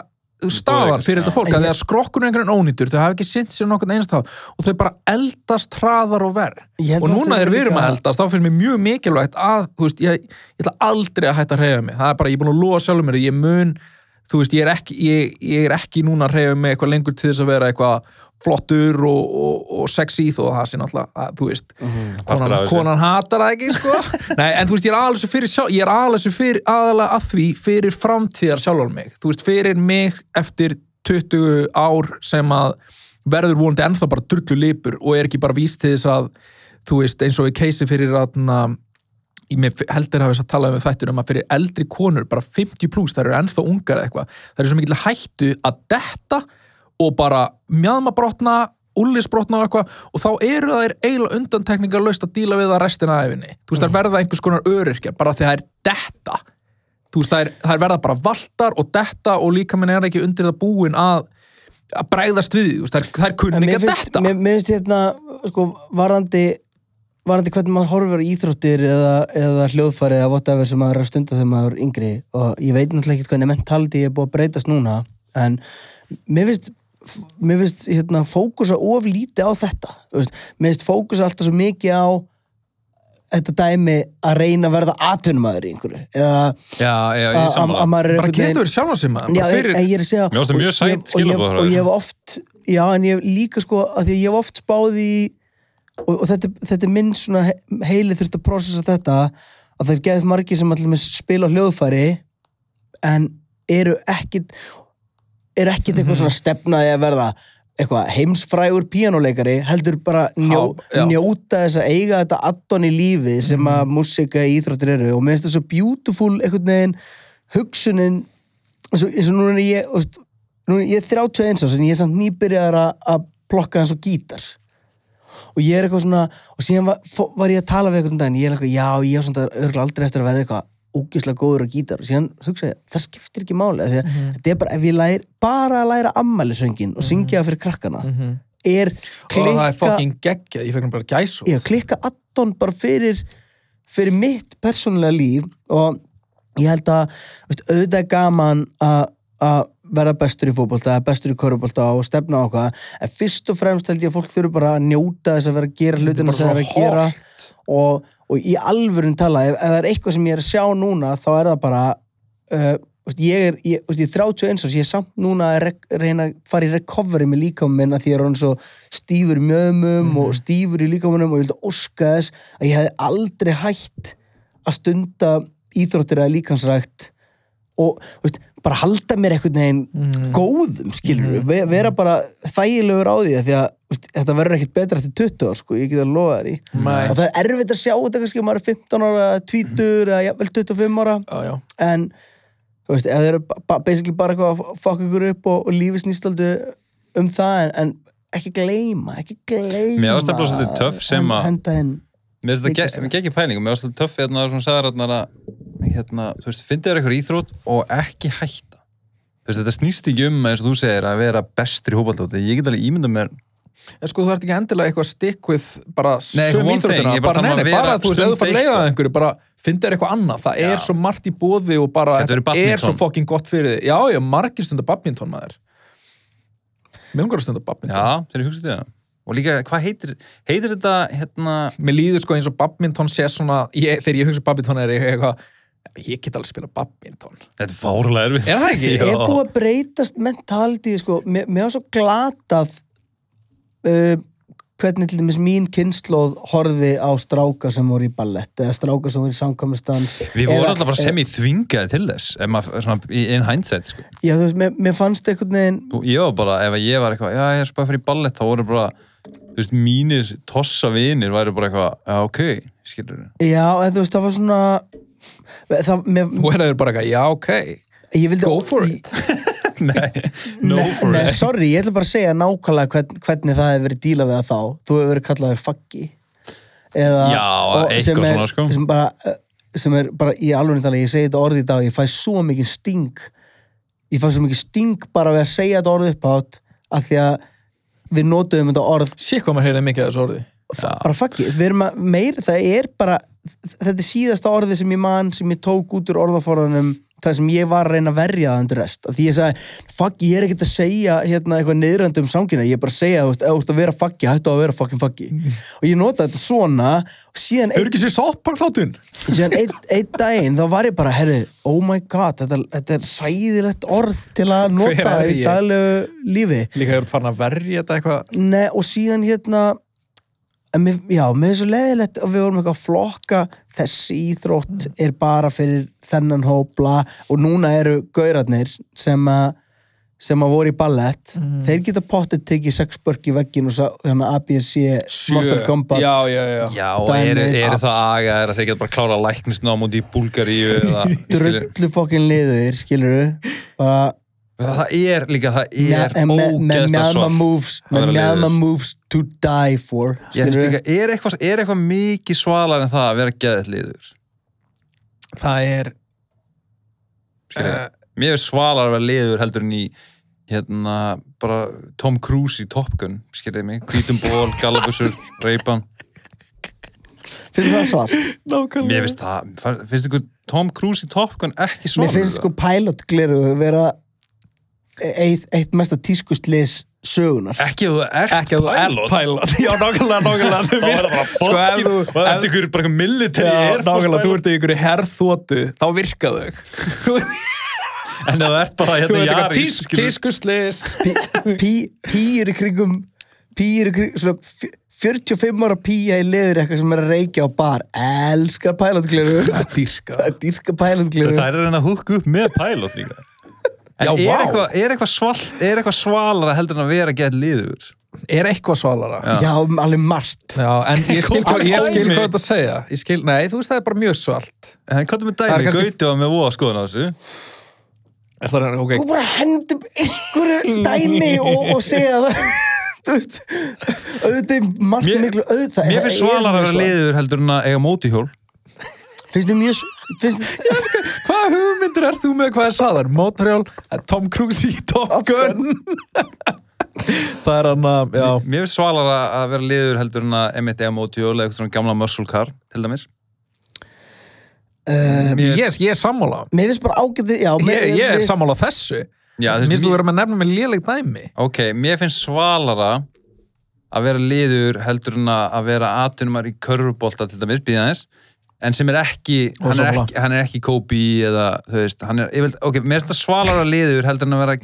[SPEAKER 4] þú veist, staðan fyrir þetta fólk,
[SPEAKER 1] En
[SPEAKER 4] að
[SPEAKER 1] ég-
[SPEAKER 4] því að skrokkunum einhvern ónýtur, þau hafi ekki sinnt sér nokkurn einstaf og þau bara eldast hraðar og verð
[SPEAKER 1] Ég held
[SPEAKER 4] og
[SPEAKER 1] að þau
[SPEAKER 4] núna þegar við erum
[SPEAKER 1] líka-
[SPEAKER 4] að eldast, þá finnst mér mjög mikilvægt að, þú veist, ég, ég ætla aldrei að hætta að reyfa mig, það er bara, ég er búin að lofa sjálfur mér ég mun, þú veist, ég er ekki ég, ég er ekki núna að reyfa mig eitthvað lengur til þess að vera eitthvað flottur og, og, og sexy þó að það sé náttúrulega að, þú veist,
[SPEAKER 3] Partur af
[SPEAKER 4] konan,
[SPEAKER 3] þessu.
[SPEAKER 4] konan hatar það ekki sko. Nei, en þú veist, ég er aðalega fyrir, sjálf, ég er aðalega fyrir aðalega að því fyrir framtíðar sjálfan mig, þú veist, fyrir mig eftir 20 ár sem að verður vonandi ennþá bara drullu lipur og er ekki bara víst til þess að þú veist, eins og í keisi fyrir að ég mér heldur hafa þess að tala um þættur um að fyrir eldri konur, bara 50 pluss, þær eru ennþá ungar eða eitthvað, þær eru svo mikil hættu að detta og bara mjadmabrotna, ullisbrotna og eitthvað og þá eru þær eiginlega undantekningar laust að díla við það restina af henni þú veist,
[SPEAKER 1] Mm.
[SPEAKER 4] þær verða einhvers konar öryrkja bara því þær detta þú veist, þær, þær verða bara valtar og detta og líka minn er ekki undir það búin að að bregðast við, því, þú veist, þær, þær
[SPEAKER 1] En
[SPEAKER 4] kunni
[SPEAKER 1] mér
[SPEAKER 4] ekki að
[SPEAKER 1] finnst,
[SPEAKER 4] detta
[SPEAKER 1] mér, mér finnst hérna sko, varandi, varandi hvernig maður horfir á íþróttir eða, eða hljóðfæri eða whatever sem maður er að stunda þegar maður er yngri og ég veit náttúrulega ekki hvernig mentality er búið að breytast núna en mér finnst mér finnst hérna, fókusa of lítið á þetta Þú veist, mér finnst fókusa alltaf svo mikið á þetta dæmi að reyna að verða atvinnumæður í einhverju eða
[SPEAKER 3] já, já, ég
[SPEAKER 1] að- að að
[SPEAKER 3] sammála
[SPEAKER 1] maður er
[SPEAKER 4] bara
[SPEAKER 1] einhvern veginn-
[SPEAKER 4] getur sjálf sem að
[SPEAKER 1] Já,
[SPEAKER 4] bara
[SPEAKER 1] fyrir...
[SPEAKER 4] fyrir,
[SPEAKER 1] ég er að segja
[SPEAKER 3] Mér fannst það
[SPEAKER 1] og-
[SPEAKER 3] mjög
[SPEAKER 1] og
[SPEAKER 3] sæt
[SPEAKER 1] ég- og ég-
[SPEAKER 3] skilaboð frá
[SPEAKER 1] Og
[SPEAKER 3] þér.
[SPEAKER 1] ég hef oft, já en ég hef líka sko að því að ég hef oft spáð í og, og þetta, þetta er minn svona he- heili þurft að prósessa þetta að það er geðið margir sem allir með spila á hljóðfæri en eru ekkit eru ekkit eitthvað svona stefnaði að verða eitthvað heimsfrægur píanuleikari heldur bara njó,
[SPEAKER 4] já.
[SPEAKER 1] njóta þess að eiga þetta addon í lífi sem að músika í íþróttir eru og mér finnst það svo beautiful einhvern veginn hugsunin eins og, eins og núna er ég þú veist, núna er ég er 31 árs en ég er samt nýbyrjaðar að, að plokka hans og gítar og ég er eitthvað svona og síðan var, fó- var ég að tala við einhvern daginn ég er eitthvað, já, ég er svona örgulega aldrei eftir að verða eitthvað ógislega góður á gítar og síðan hugsa ég, það skiptir ekki máli af því að
[SPEAKER 4] Mhm.
[SPEAKER 1] þetta er bara, ef ég læri bara að læra ammælisöngin og syngja það fyrir krakkana er
[SPEAKER 4] og Mhm. það er
[SPEAKER 1] klikka
[SPEAKER 4] fucking geggja, ég fekk hann bara gæsó
[SPEAKER 1] ég klikka addon bara fyrir fyrir mitt persónulega líf og ég held að veist, auðvitað er gaman að að verða bestur í fótbolta, eða bestur í körubólta og stefna á okkar, en fyrst og fremst held ég að fólk þurfi bara að njóta þess að vera að gera hlutina sem það er að gera og, og í alvörun tala, ef, ef það er eitthvað sem ég er að sjá núna, þá er það bara uh, veist, ég er, ég, veist, ég er 31 árs, ég er samt núna að rek, reyna að fara í recovery með líkamann minn að því ég er hann svo stífur í mjöðmum og stífur í líkamanum og ég vildi óska þess að ég hefði aldrei hætt að stunda íþróttir eða líkansrækt og veist, bara halda mér einhvern veginn
[SPEAKER 4] Mhm.
[SPEAKER 1] góðum skilur mm vera bara þægilegur á því af því að veist, þetta verður ekkert betra eftir 20 ár sko, ég get að lofa þér í
[SPEAKER 4] Nei.
[SPEAKER 1] og það er erfitt að sjá þetta kannski ef maður er 15 ára, 20 eða jafnvel 25 ára
[SPEAKER 4] Já, já.
[SPEAKER 1] en þú veist, ef þeir eru ba- ba- basically bara eitthvað að fokka ykkur upp og, og lífi snýstaldu um það en, en ekki gleyma, ekki gleyma
[SPEAKER 3] Mér varst það bara svolítið töff sem
[SPEAKER 1] Hen-
[SPEAKER 3] að-
[SPEAKER 1] henda inn
[SPEAKER 3] Mér finnst
[SPEAKER 1] Þykist
[SPEAKER 3] þetta ge- geggjum pæling og mér finnst þetta töff hérna sem sagðar hérna að hérna, þú veist, fyndið þér eitthvað íþrótt og ekki hætta þú veist, þetta snýst ekki um eins og þú segir að vera bestur í hópaldóti, ég get alveg ímynda mér
[SPEAKER 4] En sko, þú ert ekki endilega eitthvað að stick with bara
[SPEAKER 3] Nei,
[SPEAKER 4] söm
[SPEAKER 3] one thing, ég
[SPEAKER 4] íþróttina,
[SPEAKER 3] bara
[SPEAKER 4] bara
[SPEAKER 3] tala um
[SPEAKER 4] neini,
[SPEAKER 3] að vera
[SPEAKER 4] bara þú veist, ef þú
[SPEAKER 3] stund
[SPEAKER 4] fara að leiða
[SPEAKER 3] eitthvað.
[SPEAKER 4] að einhverju, bara finnst þér eitthvað annað, það
[SPEAKER 3] Já.
[SPEAKER 4] er svo margt í bóði og bara,
[SPEAKER 3] Þetta verður
[SPEAKER 4] er svo
[SPEAKER 3] badminton.
[SPEAKER 4] fucking gott fyrir þig já, já, margir stundar badminton maður mér langar að stunda badminton
[SPEAKER 3] Já, þeir eru hugsað þetta. Og líka, hvað heitir, heitir þetta, hérna,
[SPEAKER 4] mér líður sko eins og badminton sé svona ég, þegar ég hugsa um badminton er ég eitthvað ég get alveg spila badminton
[SPEAKER 3] þetta er fárlega erfið.
[SPEAKER 4] er það ekki?
[SPEAKER 3] Já.
[SPEAKER 1] er búið að breytast mentalitið sko, mér mér var svo glatað uh, hvernig til dæmis mín kynnslóð horði á stráka sem voru í ballett eða stráka sem voru í samkvæmustans
[SPEAKER 3] Við vorum alltaf bara sem í þvingaði til þess, ef maður, svona, í einn hindsight, sko.
[SPEAKER 1] já, þú veist, mér, mér fannst einhvern veginn
[SPEAKER 3] Þú- Ég var bara, ef ég var eitthvað, já, ég er spæð fyrir ballett, þá voru bara, þú veist, mínir tossa vinir væri bara eitthvað, já, ok, skilur þú.
[SPEAKER 1] já, eða, þú veist, það var svona það, mér,
[SPEAKER 4] þú er að vera bara eitthvað, já, ok
[SPEAKER 1] ég vildi
[SPEAKER 4] go for it
[SPEAKER 3] Nei, no for
[SPEAKER 1] Nei,
[SPEAKER 3] it.
[SPEAKER 1] sorry, ég ætla bara að segja nákvæmlega hvern, hvernig það hefur verið dílað við það þá þú hefur verið kallaður faggi eða,
[SPEAKER 3] Já,
[SPEAKER 1] og-
[SPEAKER 3] eitthvað
[SPEAKER 1] sem er,
[SPEAKER 3] svona, sko.
[SPEAKER 1] sem, bara, eh, sem er bara í alveg tala, ég segi þetta orð í dag, ég fæ svo mikið sting ég fæ svo mikið sting bara við að segja þetta orð upp átt af því að við notuðum þetta orð
[SPEAKER 4] sé hvað maður heyrði mikið að þessu orði
[SPEAKER 1] fa- bara faggi, við erum að meir það er bara, þetta er síðasta orði sem ég man, sem ég tók út úr orðaforðanum það sem ég var að reyna að verja það undir rest, Af því ég sagði, faggi, ég er ekkert að segja hérna eitthvað niðrandi um sangina ég er bara að segja, þú veist, ef þú ert að vera faggi, hættu að vera fucking faggi, og ég nota þetta svona og síðan einn
[SPEAKER 4] ekki sér sáttpark þáttun
[SPEAKER 1] síðan einn ein daginn, þá var ég bara, herri, oh my god þetta, þetta er sæðilegt orð til að
[SPEAKER 4] Hver
[SPEAKER 1] nota í
[SPEAKER 4] er ég?
[SPEAKER 1] daglegu lífi
[SPEAKER 4] líka þegar þú ert farin að verja þetta eitthvað
[SPEAKER 1] Nei, og síðan hérna en mér, já, mér er svo leiðilegt að við vorum eitthvað að flokka þessi íþrótt er bara fyrir þennan hópla og núna eru gaurarnir sem að sem að voru í ballett þeir geta pottið tekið sex börk í veggin og sá, hérna ABC Mortal Kombat
[SPEAKER 4] já, já, já,
[SPEAKER 3] Já, og eru
[SPEAKER 1] Dæmi.
[SPEAKER 3] er það aga, er að þeir geta bara klára læknisnám út í Búlgaríu eða, skilur þú.
[SPEAKER 1] drullu fokkin liður, skilur bara
[SPEAKER 3] Það er líka, það er
[SPEAKER 1] en með- með
[SPEAKER 3] ógeðslega
[SPEAKER 1] mjálma
[SPEAKER 3] soft
[SPEAKER 1] moves
[SPEAKER 3] að
[SPEAKER 1] með
[SPEAKER 3] vera
[SPEAKER 1] mjálma
[SPEAKER 3] leiður.
[SPEAKER 1] moves to die for
[SPEAKER 3] Ég finnst
[SPEAKER 1] skilurðu.
[SPEAKER 3] líka, er eitthvað, er eitthvað mikið svalar en það að vera geðið liður?
[SPEAKER 4] það er
[SPEAKER 3] Skilja,
[SPEAKER 4] Eh.
[SPEAKER 3] mér er svalar að vera liður heldur en í hérna, bara Tom Cruise í Top Gun, skiljaði mig, hvítum ból, gallabusur, reypan.
[SPEAKER 1] finnst þér það svart
[SPEAKER 4] nákvæmlega
[SPEAKER 3] Mér finnst það, finnst ykkur Tom Cruise í Top Gun ekki svalar?
[SPEAKER 1] Mér finnst sko pilot gleru vera e- eitt, eitt mesta tískustlis sögunar.
[SPEAKER 3] Ekki að þú ert
[SPEAKER 4] ekki að þú ert pilot já, nákvæmlega, nákvæmlega
[SPEAKER 3] Þá er það bara fokkin,
[SPEAKER 4] Sko, þú-
[SPEAKER 3] það ert ykkur bara military
[SPEAKER 4] Já,
[SPEAKER 3] Air Force
[SPEAKER 4] nákvæmlega, þú
[SPEAKER 3] pilot.
[SPEAKER 4] ert í ykkur herrþótu þá virka þau þú ert
[SPEAKER 3] En ef þú ert bara
[SPEAKER 4] þú
[SPEAKER 3] hérna
[SPEAKER 4] ert eitthvað
[SPEAKER 3] Jaris,
[SPEAKER 4] tísk,
[SPEAKER 3] skilurðu.
[SPEAKER 4] tískuslis
[SPEAKER 1] Pí, pýr í kringum, pýr í kringum, svona fj- 45 ára pýja í leður eitthvað sem er að reykja á bar. Elskar pilot gleru.
[SPEAKER 4] það dýrka
[SPEAKER 1] Það er dýrska pilot gleru.
[SPEAKER 3] Það er að reyna að húkka upp með pilot líka En
[SPEAKER 4] Já,
[SPEAKER 3] er,
[SPEAKER 4] vá.
[SPEAKER 3] eitthvað, er, eitthvað svalt, er eitthvað svalara heldur en að vera gett liður?
[SPEAKER 4] er eitthvað svalara já.
[SPEAKER 1] Já, alveg margt.
[SPEAKER 4] en ég skil,
[SPEAKER 3] Kom-
[SPEAKER 4] hvað- ég skil
[SPEAKER 3] Ómi.
[SPEAKER 4] hvað þetta að segja ég skil, nei, þú veist það er bara mjög svalt
[SPEAKER 3] En hvað er með dæmi?
[SPEAKER 4] Það er
[SPEAKER 3] Kannski...
[SPEAKER 4] kannski-
[SPEAKER 3] Gauti var með voða skoðan á þessu
[SPEAKER 4] Það er, ok,
[SPEAKER 1] Þú bara hendum einhverju dæmi og, og segja það. Þú veist, auðvitað er margt
[SPEAKER 3] Mér-
[SPEAKER 1] miklu auðvitað.
[SPEAKER 3] Mér finnst svalara að vera liður heldur en að eiga mótihjól
[SPEAKER 1] Finnst þið mjög, s- finnst,
[SPEAKER 4] Hvaða hugmyndir ert þú með hvað er svalar? Motorhjól, það er Tom Cruise í Top Gun Það er hann að, já
[SPEAKER 3] Mér finnst svalara að vera liður heldur en að emitt eiga mótihjól eða eitthvað svona gamla muscle car til dæmis
[SPEAKER 1] uh,
[SPEAKER 4] Ég er, ég er sammála
[SPEAKER 1] Mér finnst bara ágætið, já mér-
[SPEAKER 4] Ég, ég er
[SPEAKER 1] mér-
[SPEAKER 4] sammála þessu
[SPEAKER 3] Já, þú veist,
[SPEAKER 4] Mér finnst þú
[SPEAKER 3] mér-
[SPEAKER 4] vera með nefnum með léleg dæmi
[SPEAKER 3] Ok, mér finnst svalara að vera liður heldur en að að vera atunumar í körfubolta til dæmis, býða aðeins en sem er ekki,
[SPEAKER 4] Og
[SPEAKER 3] hann er
[SPEAKER 4] sammála.
[SPEAKER 3] ekki, hann er ekki Kobe eða, þú veist, hann er yfirleitt, ok, mér finnst það svalara liður heldur en að vera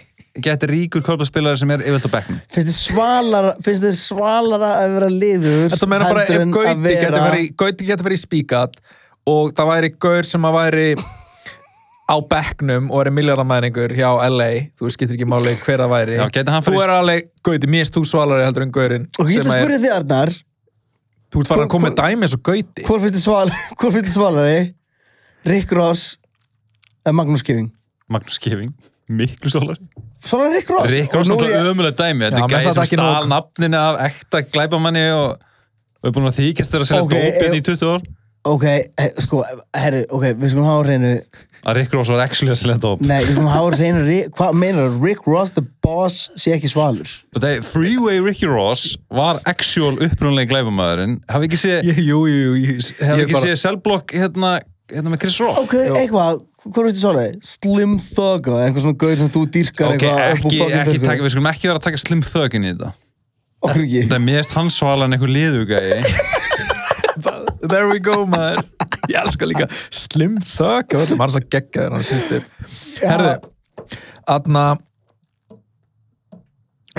[SPEAKER 3] gett ríkur körfuboltaspilari sem er yfirleitt á bekknum
[SPEAKER 1] Finnst þið svalara Finnst þið svalara að vera liður
[SPEAKER 4] Þetta meina bara
[SPEAKER 1] heldur
[SPEAKER 4] ef
[SPEAKER 1] en
[SPEAKER 4] Gauti
[SPEAKER 1] að
[SPEAKER 4] vera... getur verið Gauti getur verið í spíkat og það væri Gaur sem að væri á bekknum og er miljardamæringur hjá LA þú veist, getur ekki máli hver það væri
[SPEAKER 3] Já, gæti hann
[SPEAKER 4] þú
[SPEAKER 3] farið-
[SPEAKER 4] er alveg, Gauti, mér erst þú svalari heldur en Gaurinn
[SPEAKER 1] Og ég getur
[SPEAKER 4] sem er,
[SPEAKER 1] spurðið þið Arnar
[SPEAKER 4] þú ert farin að koma með dæmi eins og Gauti
[SPEAKER 1] Hvor finnst þið sval, hvor finnst þið svalari Rick Ross eða Magnús Geving
[SPEAKER 3] Magnús Kefing, miklu sólar
[SPEAKER 1] Svalari Rick Ross
[SPEAKER 3] Rick Ross
[SPEAKER 1] Og nú er
[SPEAKER 3] náttúrulega
[SPEAKER 1] ég-
[SPEAKER 3] ömulega dæmi
[SPEAKER 4] Já,
[SPEAKER 3] Þetta
[SPEAKER 4] menn
[SPEAKER 3] er gæði sem
[SPEAKER 4] satt ekki
[SPEAKER 3] stál
[SPEAKER 4] nóg.
[SPEAKER 3] nafninu af ekta glæpamanni og og er búin að þykjast þeirra að selja
[SPEAKER 1] Ok,
[SPEAKER 3] okay, dópin
[SPEAKER 1] ef-
[SPEAKER 3] í 20 ár
[SPEAKER 1] Ok, he- sko, herri, ok, við skulum hafa á hreinu
[SPEAKER 3] að Rick Ross var actually að selja dóp
[SPEAKER 1] Nei, við skulum hafa á hreinu Ri- Hvað meinar Rick Ross the boss sé ekki svalur
[SPEAKER 3] og það er Freeway Ricky Ross var actual upprunalegi glæpamaðurinn hafi ekki séð
[SPEAKER 4] Ég- Jú, jú, jú, jú.
[SPEAKER 3] hefði
[SPEAKER 4] Ég
[SPEAKER 3] ekki
[SPEAKER 4] bara-
[SPEAKER 3] séð selblokk hérna hérna með Chris Rock
[SPEAKER 1] ok, eitthvað, hvað veist þið svona Slim Thug og eitthvað svona gaur sem þú dýrkar
[SPEAKER 3] Ok,
[SPEAKER 1] eitthvað upp úr
[SPEAKER 3] ekki,
[SPEAKER 1] fucking
[SPEAKER 3] ekki
[SPEAKER 1] þörfu.
[SPEAKER 3] taka, við skulum ekki vera að taka Slim Thug inn í þetta
[SPEAKER 1] okkur
[SPEAKER 3] Þetta
[SPEAKER 1] ekki,
[SPEAKER 3] er mest hans svalan einhver liðugæði
[SPEAKER 4] There we go, maður Ég elskar líka Slim Thug og þetta var svo geggjæður hann sínst upp Herðu, aðna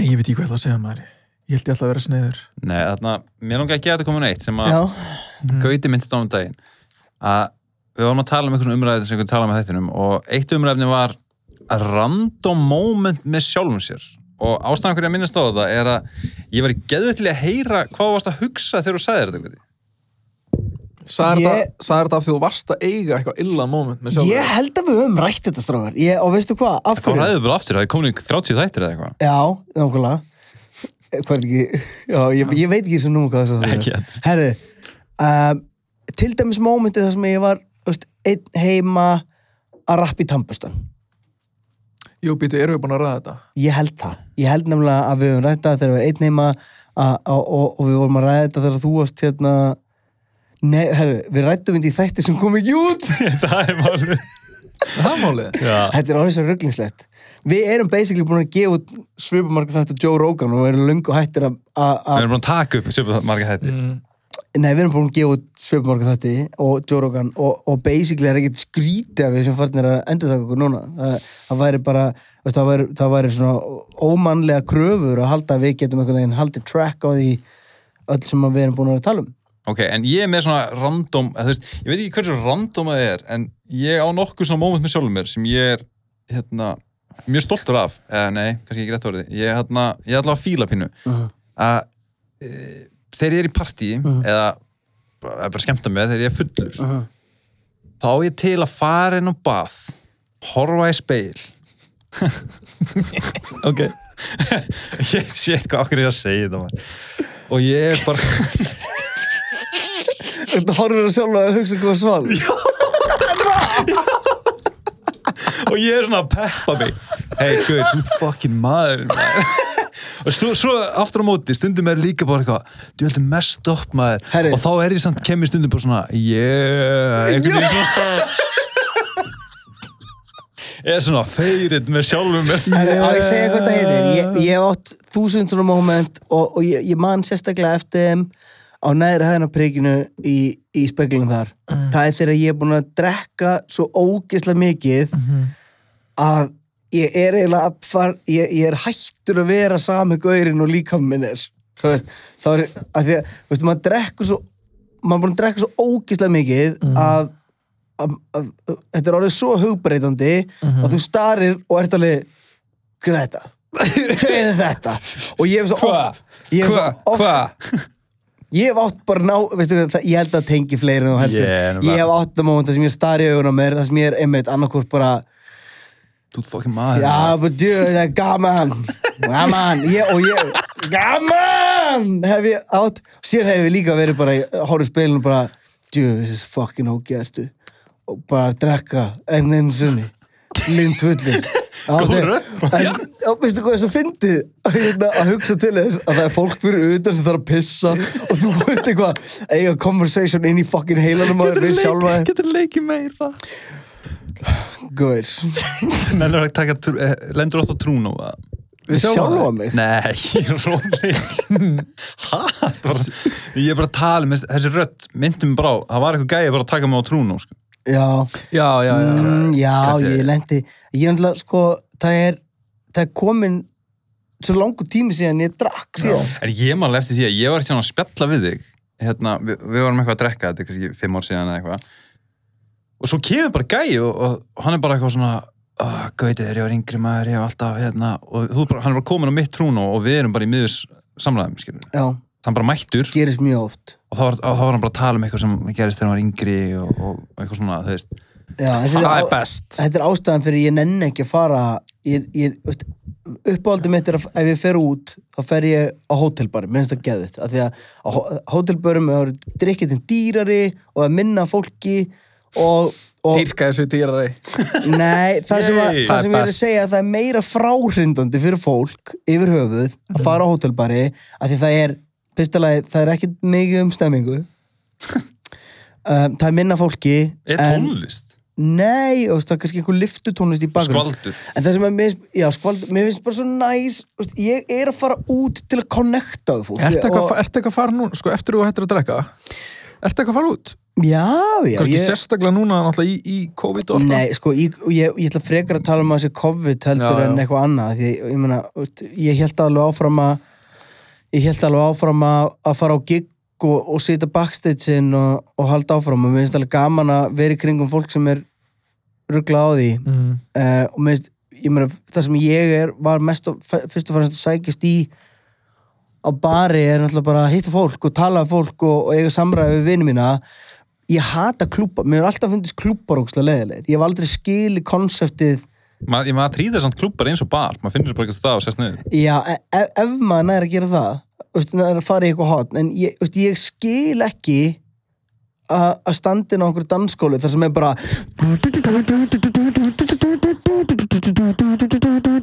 [SPEAKER 4] Ég veit ekki hvað ég ætla að segja maður Ég held ég ætla að vera sniður
[SPEAKER 3] Nei, þarna, mér langar ekki að þetta koma neitt sem að
[SPEAKER 1] já,
[SPEAKER 3] Gauti minnst á um daginn að við varum að tala um einhvern umræði sem við tala með þættinum og eitt umræðin var að random moment með sjálfum sér og ástæðan hverju að minnast á þetta er að ég var í geðvið til að heyra hvað þú varst að hugsa þegar þú sagðir þetta Gauti.
[SPEAKER 4] Sæður
[SPEAKER 1] Ég-
[SPEAKER 4] þetta sagðir þetta af því þú varst að eiga eitthvað illa moment með sjálfur
[SPEAKER 1] ég held að við höfum rætt þetta strákar ég, og veistu hvað, af
[SPEAKER 3] þá
[SPEAKER 1] hverju
[SPEAKER 3] ræðum við bara aftur, það er komin í 30 þættir eða eitthvað
[SPEAKER 1] já, nákvæmlega Eh, hvað er ekki, já, ég, ég veit ekki sem núna hvað það
[SPEAKER 3] Ekki
[SPEAKER 1] er herðu, um, til dæmis mómentið þar sem ég var þú veist, einn heima að rappa í tampustan
[SPEAKER 4] Jú, býtu, erum við búin að ræða þetta?
[SPEAKER 1] Ég held það. Ég held nefnilega að við höfum rætt það þegar við erum einn heima að- að- og, og við vorum að ræða þetta þegar þú varst hérna Nei, herru, við rættum þetta í þætti sem kom ekki út.
[SPEAKER 3] það er málið
[SPEAKER 4] Er Það málið?
[SPEAKER 1] þetta er orðið svo rugglingslegt. Við erum basically búin að gefa út svipumarka þetta Joe Rogan og við erum löngu hættir að... að-
[SPEAKER 3] við
[SPEAKER 1] að-
[SPEAKER 3] erum búin að taka upp sem marga þættir
[SPEAKER 4] Mm.
[SPEAKER 1] Nei, við erum búin að gefa út svipumarka þetta og Joe Rogan og, og basically er ekkert skrítið að við sem farnir að endurtaka okkur núna. Það, það væri bara, veist, það, væri, það væri svona ómannlega kröfur að halda að við getum einhvern veginn haldið track á því öll sem að við erum búin að vera að tala um.
[SPEAKER 3] ok, en ég er með svona random eða, þú veist, ég veit ekki hversu random það er en ég á nokkuð svona moment með sjálfum mér sem ég er hérna, mjög stoltur af eða nei, kannski ekki rétt orðið ég er hérna, ég er allavega að fíla pínu að e, þegar ég er í partíi eða bara, eða bara skemmta með þegar ég er fullur
[SPEAKER 1] Mhm.
[SPEAKER 3] þá á ég til að fara inn á bað horfa í speil
[SPEAKER 4] Ok
[SPEAKER 3] ég sétt hvað okkur er ég að segja þetta maður. og ég er bara
[SPEAKER 1] Þetta horfir að sjálfa að hugsa hvað sval.
[SPEAKER 3] og ég er svona að peppa mig hei, guður, þú ert fucking maður, maður. og svo, svo aftur á móti stundum er líka bara eitthvað þú heldur mest upp maður
[SPEAKER 1] Herri.
[SPEAKER 3] og þá er ég samt kemur stundum bara svona yeah einhvern veginn svona ég er svona feiritt með sjálfum mér
[SPEAKER 1] Herri, á ég að segja hvað það heitir. Ég, ég hef átt þúsund svona moment og, og ég, ég man sérstaklega eftir þeim á næri hæðinaprikinu í, í speglunum þar. Það er þegar ég er búin að drekka svo ógeðslega mikið að ég er eiginlega að far, ég, ég er hættur að vera sami gaurinn og líka minn er. Þú veist, þá er, að því að, veistu, maður drekkur svo, maður er búin að drekka svo ógeðslega mikið að að- að- að- þetta er orðið svo hugbreytandi að þú starir og ert alveg hver er þetta? hver er þetta? og ég hef svo
[SPEAKER 4] Hvað?
[SPEAKER 1] oft ég hef,
[SPEAKER 4] Hvað?
[SPEAKER 1] svo oft,
[SPEAKER 4] Hvað?
[SPEAKER 1] ég hef átt bara ná veistu, hvað, það, ég held að tengi fleiri en þú heldur
[SPEAKER 3] Yeah,
[SPEAKER 1] ég hef átt það móment þar sem ég stari í augun á mér þar sem ég er einmitt annarkvort bara
[SPEAKER 3] þú ert fucking maður
[SPEAKER 1] já, but dude, það er gaman gaman, ég, og ég gaman, hef ég átt sér hef ég líka verið bara í- horfði í spilinu og bara, dude, this is fucking ógæstu og bara að drekka enn einu sinni, lind fulli
[SPEAKER 3] Góð
[SPEAKER 1] En,
[SPEAKER 3] rödd.
[SPEAKER 1] og veistu hvað er svo fyndið Hérna, að hugsa til þess að það er fólk fyrir utan sem þarf að pissa og þú ert eitthvað að eiga conversation inn í fucking heilanum að við sjálfa þig.
[SPEAKER 4] Getur leikið meira
[SPEAKER 1] Gaur,
[SPEAKER 3] Nennirðu að taka trú- eh, lendur oft á trún og það
[SPEAKER 1] við sjálfa
[SPEAKER 4] þig?
[SPEAKER 1] mig
[SPEAKER 3] Nei, róli Hæ? Ég er bara að tala með þessi rödd myndum bara á, það var eitthvað gæði bara að taka mig á trún sko.
[SPEAKER 1] já
[SPEAKER 4] Já, já, já
[SPEAKER 1] Mm, já,
[SPEAKER 3] Þetta er-
[SPEAKER 1] ég lendi Ég náttúrulega, sko, það er það er komin svo langur tími síðan ég drakk síðan
[SPEAKER 3] En ég man alveg eftir því að ég var ekki að spjalla við þig hérna, við, við varum eitthvað að drekka þetta er kannski fimm ár síðan eða eitthvað og svo kemur bara gæi og, og, hann er bara eitthvað svona "Ah, Gauti þegar ég var yngri maður, ég var alltaf hérna, og þú, bara, hann er bara komin á mitt trún og, og við erum bara í miður samlæðum skilur.
[SPEAKER 1] Já,
[SPEAKER 3] hann bara mættur
[SPEAKER 1] gerist mjög oft
[SPEAKER 3] og þá var, þá var hann bara að tala um eitthvað sem gerist þegar hann var yngri og, og eitthvað svona, þú veist
[SPEAKER 1] já, en
[SPEAKER 4] Það
[SPEAKER 1] þetta,
[SPEAKER 4] er
[SPEAKER 1] á,
[SPEAKER 4] best
[SPEAKER 1] þetta er ástæðan fyrir ég nenni ekki að fara ég, ég, veist, uppáhaldi mitt er að ef ég fer út þá fer ég á hótelbari, minnst það geðvitt af því að á hó- hótelbörum er drikketinn dýrari og að minna af fólki og, og
[SPEAKER 4] Dýrka þessu dýrari
[SPEAKER 1] Nei, það sem, að,
[SPEAKER 3] Yay.
[SPEAKER 1] það sem ég er
[SPEAKER 4] Það er
[SPEAKER 1] að segja að það er meira fráhrindandi fyrir fólk yfir höfuð að
[SPEAKER 3] Mhm.
[SPEAKER 1] fara á hótelbari að því það er, pistalagi, það er ekkit mikið um stemmingu um, það er minna fólki
[SPEAKER 3] Er tónlist?
[SPEAKER 1] nei, og, veist, það er kannski einhver liftutónlist í bakgrunn
[SPEAKER 3] Skvaldur?
[SPEAKER 1] en það sem að mér, já, skvald, mér finnst bara svo næs veist, ég er að fara út til að connecta við fólk
[SPEAKER 4] Ertu eitthvað
[SPEAKER 1] Og-
[SPEAKER 4] og... ert að fara núna, sko, eftir þú hættir að drekka Ertu eitthvað að fara út?
[SPEAKER 1] já, já,
[SPEAKER 4] Kanski
[SPEAKER 1] ég
[SPEAKER 4] sérstaklega núna náttúrulega í, í COVID og allt það.
[SPEAKER 1] Nei, sko, ég, ég, ég ætla frekar að tala um að þessi COVID heldur
[SPEAKER 4] Já, já.
[SPEAKER 1] en eitthvað annað því, ég, meina, þú veist, ég held alveg áfram að ég held alveg áfram að, að fara á gig og, og sita backstagein og, og halda áfram og mér finnst alveg gaman að vera í kringum fólk sem er ruggla á því
[SPEAKER 4] Mm.
[SPEAKER 1] uh, og mér finnst, ég meina, það sem ég er var mest og, f- fyrst og fyrst að sækist í á bari er náttúrulega bara að hitta fólk og tala við fólk og, og eiga samræði við vinið mína ég hata klúpa, mér hefur alltaf fundist klúpar ógstlega leðilegir, ég hef aldrei skili konseptið,
[SPEAKER 3] Ma, ég maður trýða samt klubbar eins og bar maður finnir bara eitthvað stað og sérst niður
[SPEAKER 1] já, e- ef, ef maður næri að gera það, þú veist, það er að fara í eitthvað hot, en ég, þú veist, ég skil ekki að að standin á einhverju dansskólu þar sem er bara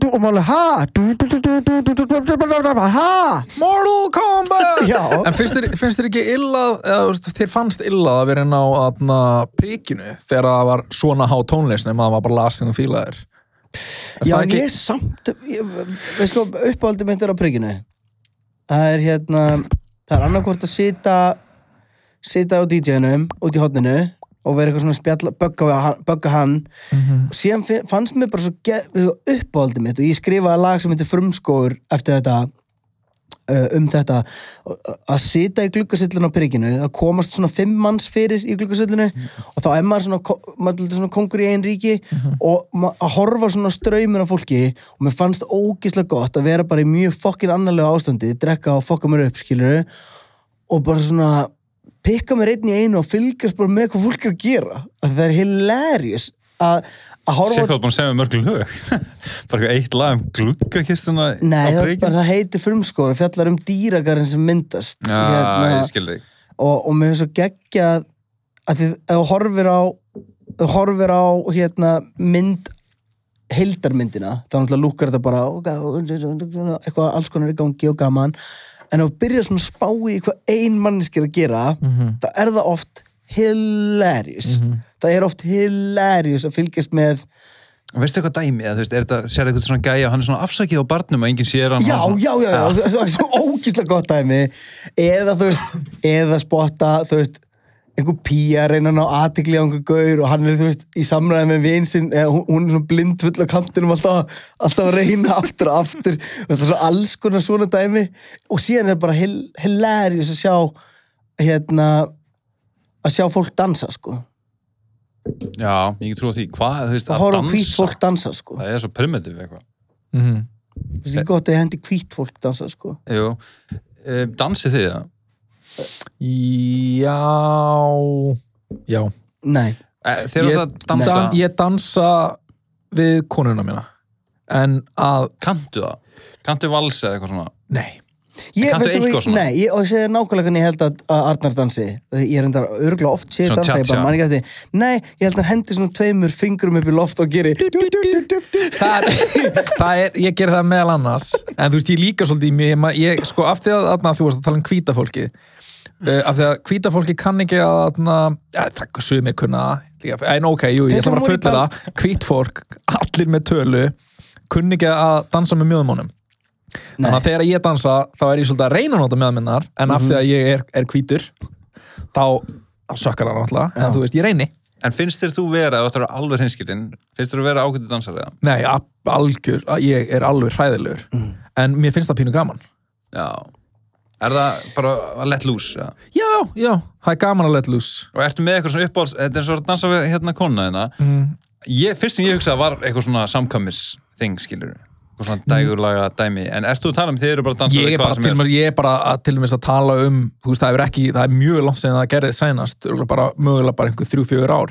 [SPEAKER 1] og máli ha ha
[SPEAKER 4] Mortal Kombat!
[SPEAKER 1] Já.
[SPEAKER 4] En finnst þér, finnst þér ekki illað, eða þú veist, þér fannst illað að vera inn á atna, prikinu þegar það var svona há tónlist nema það var bara lasing og fílaðir? Er
[SPEAKER 1] Já,
[SPEAKER 4] það
[SPEAKER 1] en
[SPEAKER 4] ekki-
[SPEAKER 1] ég er samt ég, við sko, uppáhaldið mitt er á prikinu það er hérna það er annarkvort að sita sita á DJ-num, út í hotninu og vera eitthvað svona að spjalla, bögga, við hann- bögga hann
[SPEAKER 4] Mhm.
[SPEAKER 1] og síðan fi- fannst mér bara svo ge- svo uppáhaldið mitt og ég skrifaði lag sem heitir Frumskóur eftir þetta uh, um þetta og- að sita í gluggasillinu á prikinu það komast svona fimm manns fyrir í gluggasillinu og þá er maður svona, ko- maður er dálítið svona kongur í einn ríki og ma- að horfa svona straumin af fólki og mér fannst ógislega gott að vera bara í mjög fokkin annarlega ástandi, drekka og fokka mér upp skilur og bara svona pikka mér einn í einu og fylgjast bara með hvað fólk er að gera að það er hilarious að, að
[SPEAKER 3] sé
[SPEAKER 1] horfa
[SPEAKER 3] hvað þú ert búin að segja með mörgum lög bara eitthvað eitt lag um gluggakistuna
[SPEAKER 1] Nei,
[SPEAKER 3] á
[SPEAKER 1] það, er
[SPEAKER 3] Breaking.
[SPEAKER 1] bara, það heitir frumskóra, fjallar um dýragarinn sem myndast
[SPEAKER 3] Já,
[SPEAKER 1] Hérna-
[SPEAKER 3] ég skil þig
[SPEAKER 1] og, og mér finnst svo geggja að því að þú horfir á þú horfir á hérna mynd heildarmyndina þá náttúrulega lúkar þetta bara ó, gá- eitthvað alls konar í gangi og gaman en ef þú byrjar svona að spá í hvað ein manneski er að gera þá er það oft hilarious það er oft hilarious að fylgjast með
[SPEAKER 3] Veistu eitthvað dæmi, eða þú veist, er þetta, sér eitthvað svona gæja og hann er svona afsakið á barnum og enginn sér hann
[SPEAKER 1] já, já, já,
[SPEAKER 3] Ah.
[SPEAKER 1] já, það er svo ógíslega gott dæmi eða þú veist eða spotta, þú veist einhver pía reyna að ná aðtikli á einhver gaur og hann er, þú veist, í samræði með vinsinn eða hún- hún er svona blind full á kantinum alltaf, alltaf að reyna aftur og aftur þú veist, svona alls konar svona dæmi og síðan er bara hil, hilarious að sjá hérna að sjá fólk dansa, sko
[SPEAKER 3] já, ég trú á því, hvað, þú veist,
[SPEAKER 1] að
[SPEAKER 3] að
[SPEAKER 1] horfa á
[SPEAKER 3] dansa
[SPEAKER 1] hvít fólk dansa, sko
[SPEAKER 3] Það er svo primitiv eitthvað
[SPEAKER 4] Mhm.
[SPEAKER 1] þú veist, ég gott að ég hendi hvít fólk dansa, sko
[SPEAKER 3] Jú, um, dansið þið það?
[SPEAKER 4] Já, já.
[SPEAKER 1] nei,
[SPEAKER 3] E, Þeir eru það dansa,
[SPEAKER 4] Dan, ég dansa við konuna mína. En að,
[SPEAKER 3] kanntu það? Kanntu valsa eða eitthvað svona?
[SPEAKER 4] nei,
[SPEAKER 1] Ég,
[SPEAKER 3] Kanntu
[SPEAKER 1] veistu,
[SPEAKER 3] eitthvað
[SPEAKER 1] eitthvað
[SPEAKER 3] svona?
[SPEAKER 1] Nei, ég, og ég segi þér nákvæmlega hvernig ég held að, að Arnar dansi Ég er enda örgulega oft séð
[SPEAKER 3] Svona
[SPEAKER 1] dansa Ég
[SPEAKER 3] cha-cha.
[SPEAKER 1] bara man ekki eftir því. Nei, ég held að hann hendi svona tveimur fingrum upp í loft og geri
[SPEAKER 4] það, það er, ég ger það meðal annars en þú veist, ég líka svolítið í mig ég, ma- ég, sko, af því að atna, þú varst að tala um hvíta fólki uh, af því að hvíta fólki kann ekki að atna, ja, það sumir kunna það, líka, en ok, jú,
[SPEAKER 1] Þeir
[SPEAKER 4] ég ætla
[SPEAKER 1] sem
[SPEAKER 4] bara að
[SPEAKER 1] voru í
[SPEAKER 4] fulla það hvít fólk, allir með tölu kunni ekki að dansa með mjöðumónum þannig
[SPEAKER 1] Nei. Mhm.
[SPEAKER 4] að þegar ég dansa þá er ég svolítið að reyna að nota mjöðuminnar en af því að ég er, er hvítur þá, þá sökkar það náttúrulega en þú veist, ég reyni
[SPEAKER 3] En finnst þér þú vera, ef þú ættir að vera alveg hinskilinn, finnst þér þú vera ágættu dansar eða?
[SPEAKER 4] Nei, a- algjör, a- ég er alveg hræðilegur
[SPEAKER 1] Mm.
[SPEAKER 4] en mér finnst það pínu gaman
[SPEAKER 3] Já. Er það bara að let loose? Ja?
[SPEAKER 4] Já, já, það er gaman að let loose
[SPEAKER 3] Og ertu með eitthvað svona uppáhalds, þetta er svo að dansa við hérna konna þina.
[SPEAKER 4] Mm.
[SPEAKER 3] Ég, fyrst sem ég hugsaði var eitthvað svona samkvæmis þing, skilur við. Eitthvað svona dægurlaga dæmi. En ertu að tala um þið eru bara að dansa
[SPEAKER 4] Mm. Ég er bara, til,
[SPEAKER 3] sem
[SPEAKER 4] mér, ég er bara að, til mér að tala um þú veist, það, er ekki, það er mjög langt sem það gerði sænast örugglega bara, mögulega bara einhver þrjú, fjögur ár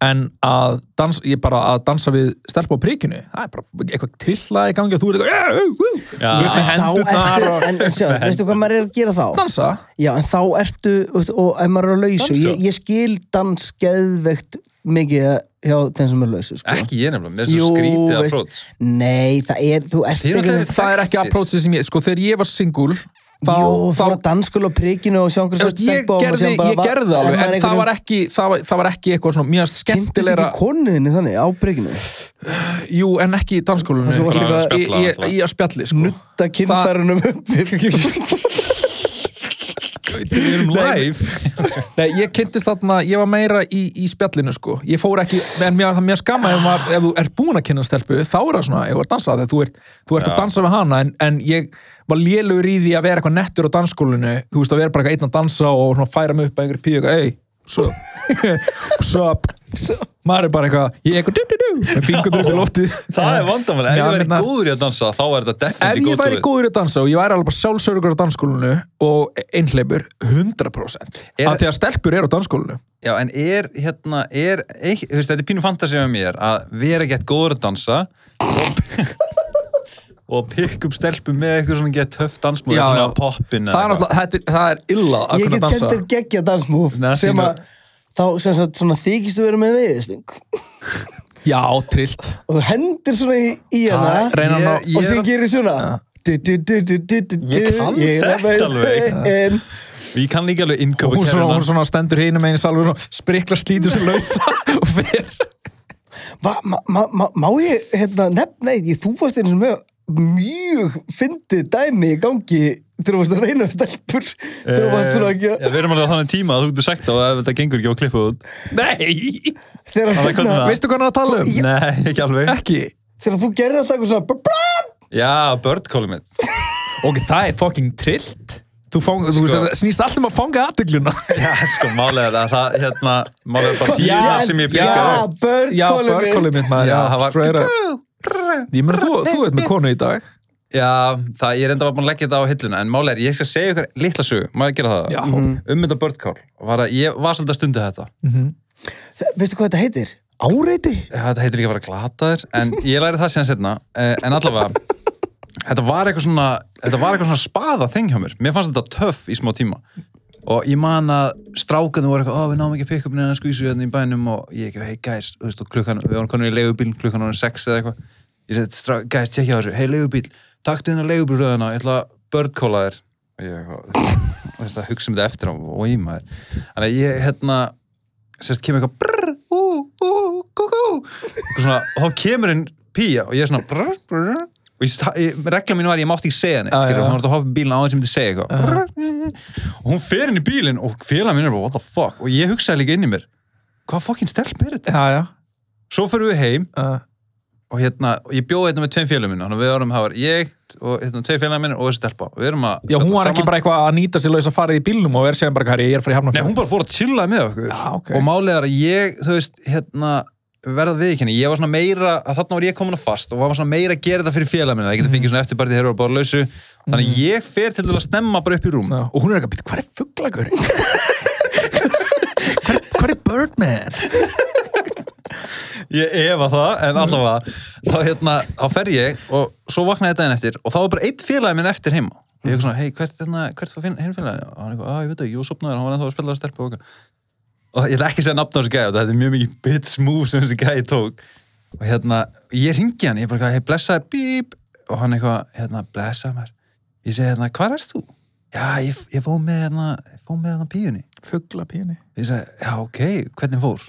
[SPEAKER 4] en að dansa, ég er bara að dansa við stelpa á prikinu, það er bara eitthvað trillað í gangi og þú er eitthvað "Yeah, uh, uh."
[SPEAKER 3] Já.
[SPEAKER 4] Ég er með
[SPEAKER 1] En þá
[SPEAKER 4] hendurnar
[SPEAKER 1] ertu
[SPEAKER 4] og
[SPEAKER 1] En sjá, veistu hvað maður er að gera þá?
[SPEAKER 4] dansa
[SPEAKER 1] Já, en þá ertu veist, Og ef maður er á lausu
[SPEAKER 3] Dansa.
[SPEAKER 1] ég, ég skil dans geðveikt mikið hjá þeim sem er á lausu sko.
[SPEAKER 3] Ekki ég nefnilega, með þessu skrítið að
[SPEAKER 1] veist,
[SPEAKER 3] próts.
[SPEAKER 1] Nei, það er Þú ert
[SPEAKER 3] Þið eru
[SPEAKER 1] ekki
[SPEAKER 3] allir-
[SPEAKER 4] það er ekki
[SPEAKER 3] Þekktir.
[SPEAKER 4] approachið sem ég, sko þegar ég var singul þá,
[SPEAKER 1] Jú,
[SPEAKER 4] þá
[SPEAKER 1] fór að danskul á prikinu og sjá einhver
[SPEAKER 4] Þú
[SPEAKER 1] sem
[SPEAKER 4] veist, ég
[SPEAKER 1] steppa á honum og
[SPEAKER 4] gerði,
[SPEAKER 1] síðan bara
[SPEAKER 4] ég gerði það alveg, en það var ekki það var, það var ekki eitthvað svona mjög
[SPEAKER 1] Kynntist
[SPEAKER 4] skemmtilegra
[SPEAKER 1] ekki konuðinni þannig á prikinu
[SPEAKER 4] jú, en ekki í danskólinu
[SPEAKER 1] Þú varst
[SPEAKER 4] Í-
[SPEAKER 1] eitthvað- um,
[SPEAKER 4] í- í í að spjalli, sko
[SPEAKER 1] Nutta kynfærunum upp
[SPEAKER 3] Við erum live
[SPEAKER 4] Nei, ég kynntist þarna, ég var meira í, í spjallinu sko, ég fór ekki, en mér, það mér skamma ef, maður, ef þú ert búin að kynna stelpu þá er það svona, ég var að dansa þegar þú ert, þú ert að dansa við hana, en, en ég var lélur í því að vera eitthvað nettur á dansskólinu þú veist að vera bara eitthvað einn að dansa og svona, færa mig upp að einhverju píu, eitthvað, ei, sup sup, maður er bara eitthvað ég er eitthvað, du, du, du, með fingur upp í loftið
[SPEAKER 3] Það er vandamál, ef
[SPEAKER 4] Já, hérna-
[SPEAKER 3] ég væri
[SPEAKER 4] menna-
[SPEAKER 3] góður í að dansa þá er þetta
[SPEAKER 4] ef
[SPEAKER 3] definitíð
[SPEAKER 4] ég væri
[SPEAKER 3] góður
[SPEAKER 4] góður í að dansa og ég væri alveg bara sjálfsörugur á dansskólinu og einhleipur 100%
[SPEAKER 3] Er-
[SPEAKER 4] af því að stelpur eru á dansskólinu
[SPEAKER 3] Já, en er, hérna, er, eik, þú veist, þetta er pínu fantasið með mér að vera gett góður að dansa og, og pikk upp stelpu með eitthvað svona gett töff dansmúl,
[SPEAKER 4] Já,
[SPEAKER 3] svona
[SPEAKER 4] já.
[SPEAKER 3] hérna poppin
[SPEAKER 4] það er, alltaf, það, er, það er illa að
[SPEAKER 1] Ég
[SPEAKER 4] kunna
[SPEAKER 1] get
[SPEAKER 4] dansa
[SPEAKER 1] kennt þér geggja dansmúf
[SPEAKER 3] Nei,
[SPEAKER 1] sem
[SPEAKER 3] sínu-
[SPEAKER 1] að þá sem sagt, svona þykist þú vera með veiðisting
[SPEAKER 4] já, trillt
[SPEAKER 1] og þú hendir svona í, í
[SPEAKER 4] Það
[SPEAKER 1] hana
[SPEAKER 4] reyna
[SPEAKER 3] Ég-
[SPEAKER 4] ná
[SPEAKER 3] ég-
[SPEAKER 1] og sem gerir svona du, du, du, du, du, du, du,
[SPEAKER 3] Ég kann þetta alveg.
[SPEAKER 1] en,
[SPEAKER 3] Ég kann líka alveg
[SPEAKER 4] og
[SPEAKER 3] innkaupa
[SPEAKER 4] hún svona, hún
[SPEAKER 3] kæruna
[SPEAKER 4] svona stendur hínum einu salvur og sprikla slítur sér lausa og fer
[SPEAKER 1] va, ma, ma, ma, Má ég hérna, nefna eitt ég þú varst einu sem með mjög fyndið dæmi í gangi þegar þú varst að reyna við stelpur þegar þú varst svona ekki
[SPEAKER 3] Eh, Já, Við erum alveg á þannig tíma að þú getur sagt þá að ef þetta gengur ekki á klippu út
[SPEAKER 4] nei,
[SPEAKER 1] þegar
[SPEAKER 3] Það var
[SPEAKER 1] hérna,
[SPEAKER 3] kostum
[SPEAKER 4] veistu hvað hann er að tala um?
[SPEAKER 3] Nei, ekki alveg
[SPEAKER 4] ekki,
[SPEAKER 1] þegar þú gerir alltaf eitthvað svona bra, bra,
[SPEAKER 3] Já, bird calling mitt
[SPEAKER 4] ok, það er fucking trillt þú, fang, þú
[SPEAKER 3] Sko.
[SPEAKER 4] veist, snýst alltaf um að fanga aðdugluna
[SPEAKER 3] Já, sko, málega það, það hérna, málega bara
[SPEAKER 4] Já,
[SPEAKER 3] tíma sem ég
[SPEAKER 4] já.
[SPEAKER 3] pikkaði
[SPEAKER 1] Já,
[SPEAKER 3] upp.
[SPEAKER 1] bird
[SPEAKER 4] já,
[SPEAKER 1] calling it.
[SPEAKER 4] börkóli mitt
[SPEAKER 3] Já,
[SPEAKER 4] maður já,
[SPEAKER 3] það var
[SPEAKER 4] straight up. ég meina, þú, þú ert með konu í dag
[SPEAKER 3] Já, það, ég er enda bara búin að leggja þetta á hilluna en málega, ég skal segja ykkur litla sögu má ég gera það?
[SPEAKER 4] Já.
[SPEAKER 3] Um þetta börnkál var að ég var svolítið að stundi þetta
[SPEAKER 1] Þa- Veistu hvað þetta heitir? Áreiti?
[SPEAKER 3] Þetta heitir ekki að vera glataður en ég læri það síðan setna en allavega, þetta var eitthvað svona þetta var eitthvað svona spaða þeng hjá mér mér fannst þetta töff í smá tíma og ég man að strákanu voru eitthvað, ó við náum ekki að pikka upp neina skvísu hérna í bænum og ég ekki, hey guys, þú veist, og klukkan, við varum konur í leigubíl klukkan var sex eða eitthvað ég segi, strá- guys, tjekkja á þessu, hey leigubíl taktu hérna leigubílröðuna, ég ætla að birdcalla þér og ég eitthvað, þú veist, að hugsa um þetta eftir á, og ég maður þannig að ég, hérna, sérst, kemur eitthvað brr, ú, ú, kú, kú eitthvað svona, og þá kemur einn pía og ég er svona brr, brr og ég, sta- ég, regla mín var að ég mátti ekki segja neitt
[SPEAKER 4] Já,
[SPEAKER 3] skilur,
[SPEAKER 4] já.
[SPEAKER 3] hún var að hoppa í bílinn á þess að ég myndi segja eitthvað brr, og hún fer inn í bílinn og félag minn er bara what the fuck og ég hugsaði líka inn í mér hvað fucking stelp er þetta?
[SPEAKER 4] já, já
[SPEAKER 3] Svo fyrir við heim
[SPEAKER 4] uh,
[SPEAKER 3] og hérna, og ég bjóði hérna með tveim félagum minn þannig að við varum, það var ég og hérna tveim félagum minn og þessi stelpa og við erum að
[SPEAKER 4] já, hún var ekki
[SPEAKER 3] saman.
[SPEAKER 4] bara eitthvað að nýta sér laus að fara í bílnum og vera séðan bara, herri, ég er að fara í hafna
[SPEAKER 3] Nei, hún bara fór að chilla með okkur
[SPEAKER 4] Já, ok.
[SPEAKER 3] og málega er að ég, þú veist, hérna verða viðkynni, ég var svona meira að þarna var ég komin að fast og var svona meira að gera þetta fyrir félag minna, það getur fengið svona eftirbært þegar það eru bara lausu, þannig að ég fer til að snemma bara upp í rúm,
[SPEAKER 4] Já, og hún er eitthvað, "Bíddu, hvað er fugglagur? hvað er Birdman?
[SPEAKER 3] ég efa það en allavega, þá hérna þá fer ég og svo vaknaði þetta einn eftir og þá var bara einn félag minn eftir heima ég er svona, hei, hvert, hérna, hvert var hinn félagin og hann er eitthvað, að ég veit ekki, ég var sopnaður, hann var ennþá að spila að stelpa og eitthvað og ég ætla ekki að segja nafn á þessu gæði þetta er mjög mikið bitch move sem þessi gæði tók og hérna, ég ringi hann ég er bara, eitthvað, hei, blessaði, bíp og hann eitthvað, hérna, blessaði mér ég segi, hérna, hvar ert þú? já, ég, ég fó með, hérna, ég fó með, hérna, píunni
[SPEAKER 4] Fuggla píni.
[SPEAKER 3] ég sagði, já, ok, hvernig fór?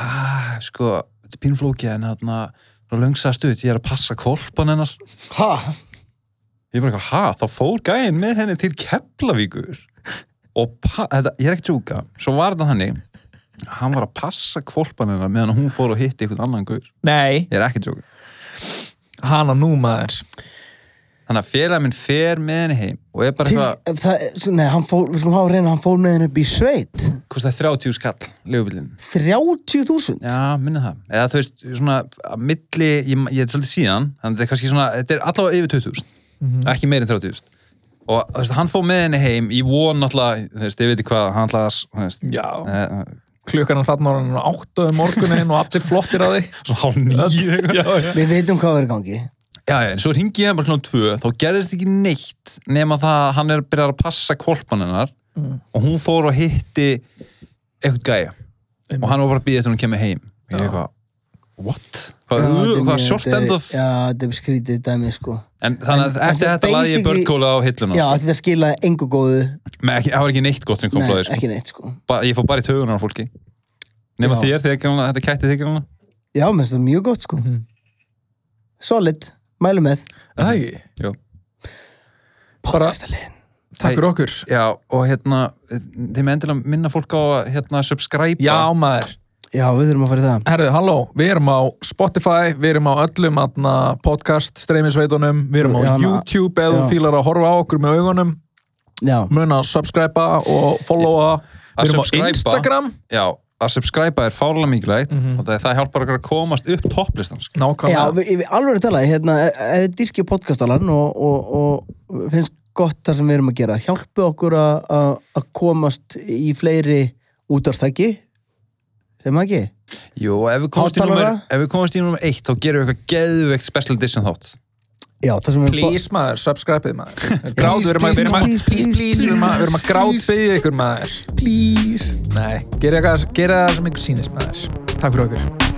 [SPEAKER 3] Ah, sko, þetta er pínflókið en þarna, það löngsaði stuð, ég er að passa kolpan hennar.
[SPEAKER 1] Ha?
[SPEAKER 3] Ég bara, eitthvað, ha, þá fór gæinn með henni til Keflavíkur. Og pa- þetta, ég er ekki að tjúka, svo var þetta þannig, hann var að passa kolpan hennar meðan hún fór og hitti einhvern annan gaur.
[SPEAKER 4] Nei,
[SPEAKER 3] Ég er ekki að tjúka.
[SPEAKER 4] hana nú maður.
[SPEAKER 3] Þannig að félag minn fer með henni heim og er bara
[SPEAKER 1] Til,
[SPEAKER 3] eitthvað,
[SPEAKER 1] það, er- svo- nei, hann fór, við skulum hafa reyna, hann fór með henni upp í sveit.
[SPEAKER 3] kostaði 30 skall, legubillin.
[SPEAKER 1] 30.000?
[SPEAKER 3] Já, minna það. Eða þú veist, svona, að milli, ég, ég er svolítið síðan, þannig að þetta er kannski svona, þetta er allavega yfir 20.000, ekki meir en 30.000. Og þú veist, hann fór með henni heim í von alltaf, þú veist, ég veit ekki hvað, hann alltaf, þú veist,
[SPEAKER 4] Já.
[SPEAKER 3] eh,
[SPEAKER 4] Klukkan á þarna var hann áttuð morgunin og allir flottir að því.
[SPEAKER 3] svona hálf nýju.
[SPEAKER 4] já, já.
[SPEAKER 1] Við veitum hvað er í gangi.
[SPEAKER 3] Já, já, en svo ringi ég hann bara klón tvö, þá gerðist ekki neitt nema það að hann er byrjað að passa kolpan hennar og hún fór og hitti eitthvað gæja og hann var bara að býða eftir að hún kemur heim. Og Ég
[SPEAKER 4] Já.
[SPEAKER 3] eitthvað, what? Hvað, uh,
[SPEAKER 1] þetta er
[SPEAKER 3] hvað
[SPEAKER 1] mjög-
[SPEAKER 3] short
[SPEAKER 1] þetta er-
[SPEAKER 3] end of
[SPEAKER 1] Já, þetta er skrítið dæmi, sko
[SPEAKER 3] en þannig
[SPEAKER 1] en
[SPEAKER 3] að eftir
[SPEAKER 1] þetta
[SPEAKER 3] þetta laði ég
[SPEAKER 1] basically-
[SPEAKER 3] börnkóla á hilluna
[SPEAKER 1] Já,
[SPEAKER 3] sko.
[SPEAKER 1] þetta skilaði engu góðu
[SPEAKER 3] Men ekki, það var ekki neitt gott sem kom
[SPEAKER 1] Nei,
[SPEAKER 3] frá þér sko.
[SPEAKER 1] ekki neitt, sko
[SPEAKER 3] Ba- ég fór bara í tögunar á fólki nema
[SPEAKER 1] Já.
[SPEAKER 3] þér, þér gæmla, þetta kætti þig gæmla
[SPEAKER 1] Já, mér finnst það mjög gott, sko
[SPEAKER 4] Mhm.
[SPEAKER 1] Solid, mælu með
[SPEAKER 4] Er Það ekki, Bara-
[SPEAKER 1] Podcastaliðin
[SPEAKER 4] takk fyrir okkur
[SPEAKER 3] já, og hérna, þið með endilega minna fólk á að hérna, subscribe
[SPEAKER 4] Já maður,
[SPEAKER 1] Já, við þurfum að fara í það
[SPEAKER 4] herðu, halló, við erum á Spotify, við erum á öllum atna, podcast streymisveitunum, við erum á
[SPEAKER 1] Já, na-
[SPEAKER 4] YouTube eða þú
[SPEAKER 1] já.
[SPEAKER 4] fílar að horfa á okkur með augunum
[SPEAKER 1] Já,
[SPEAKER 4] muna að subscriba og followa
[SPEAKER 3] Að
[SPEAKER 4] við erum á
[SPEAKER 3] subscriba.
[SPEAKER 4] Instagram
[SPEAKER 3] já, að subscribe er fárlega mikilvægt mm -hmm. það hjálpar okkur að komast upp topplistan sko.
[SPEAKER 1] já
[SPEAKER 4] nákvæmlega,
[SPEAKER 1] við, við alveg að tala hérna, ef þið dyrkið podcastalan og, og, og finnst gott það sem við erum að gera hjálpu okkur að- að að komast í fleiri útarstæki sem það ekki
[SPEAKER 3] jú, og ef við komast í
[SPEAKER 1] Hátalara?
[SPEAKER 3] númer ef við komast í númer 1, þá gerum við eitthvað geðveikt special edition þátt
[SPEAKER 1] Já, það sem við
[SPEAKER 4] please maður, subscribeið maður gráð, við erum að- við erum að
[SPEAKER 1] please,
[SPEAKER 4] please,
[SPEAKER 1] please,
[SPEAKER 4] please, við erum að- við erum að gráðbyðja ykkur maður
[SPEAKER 1] please
[SPEAKER 4] nei, gera eitthvað- gera það sem ykkur sýnist maður takk fyrir okkur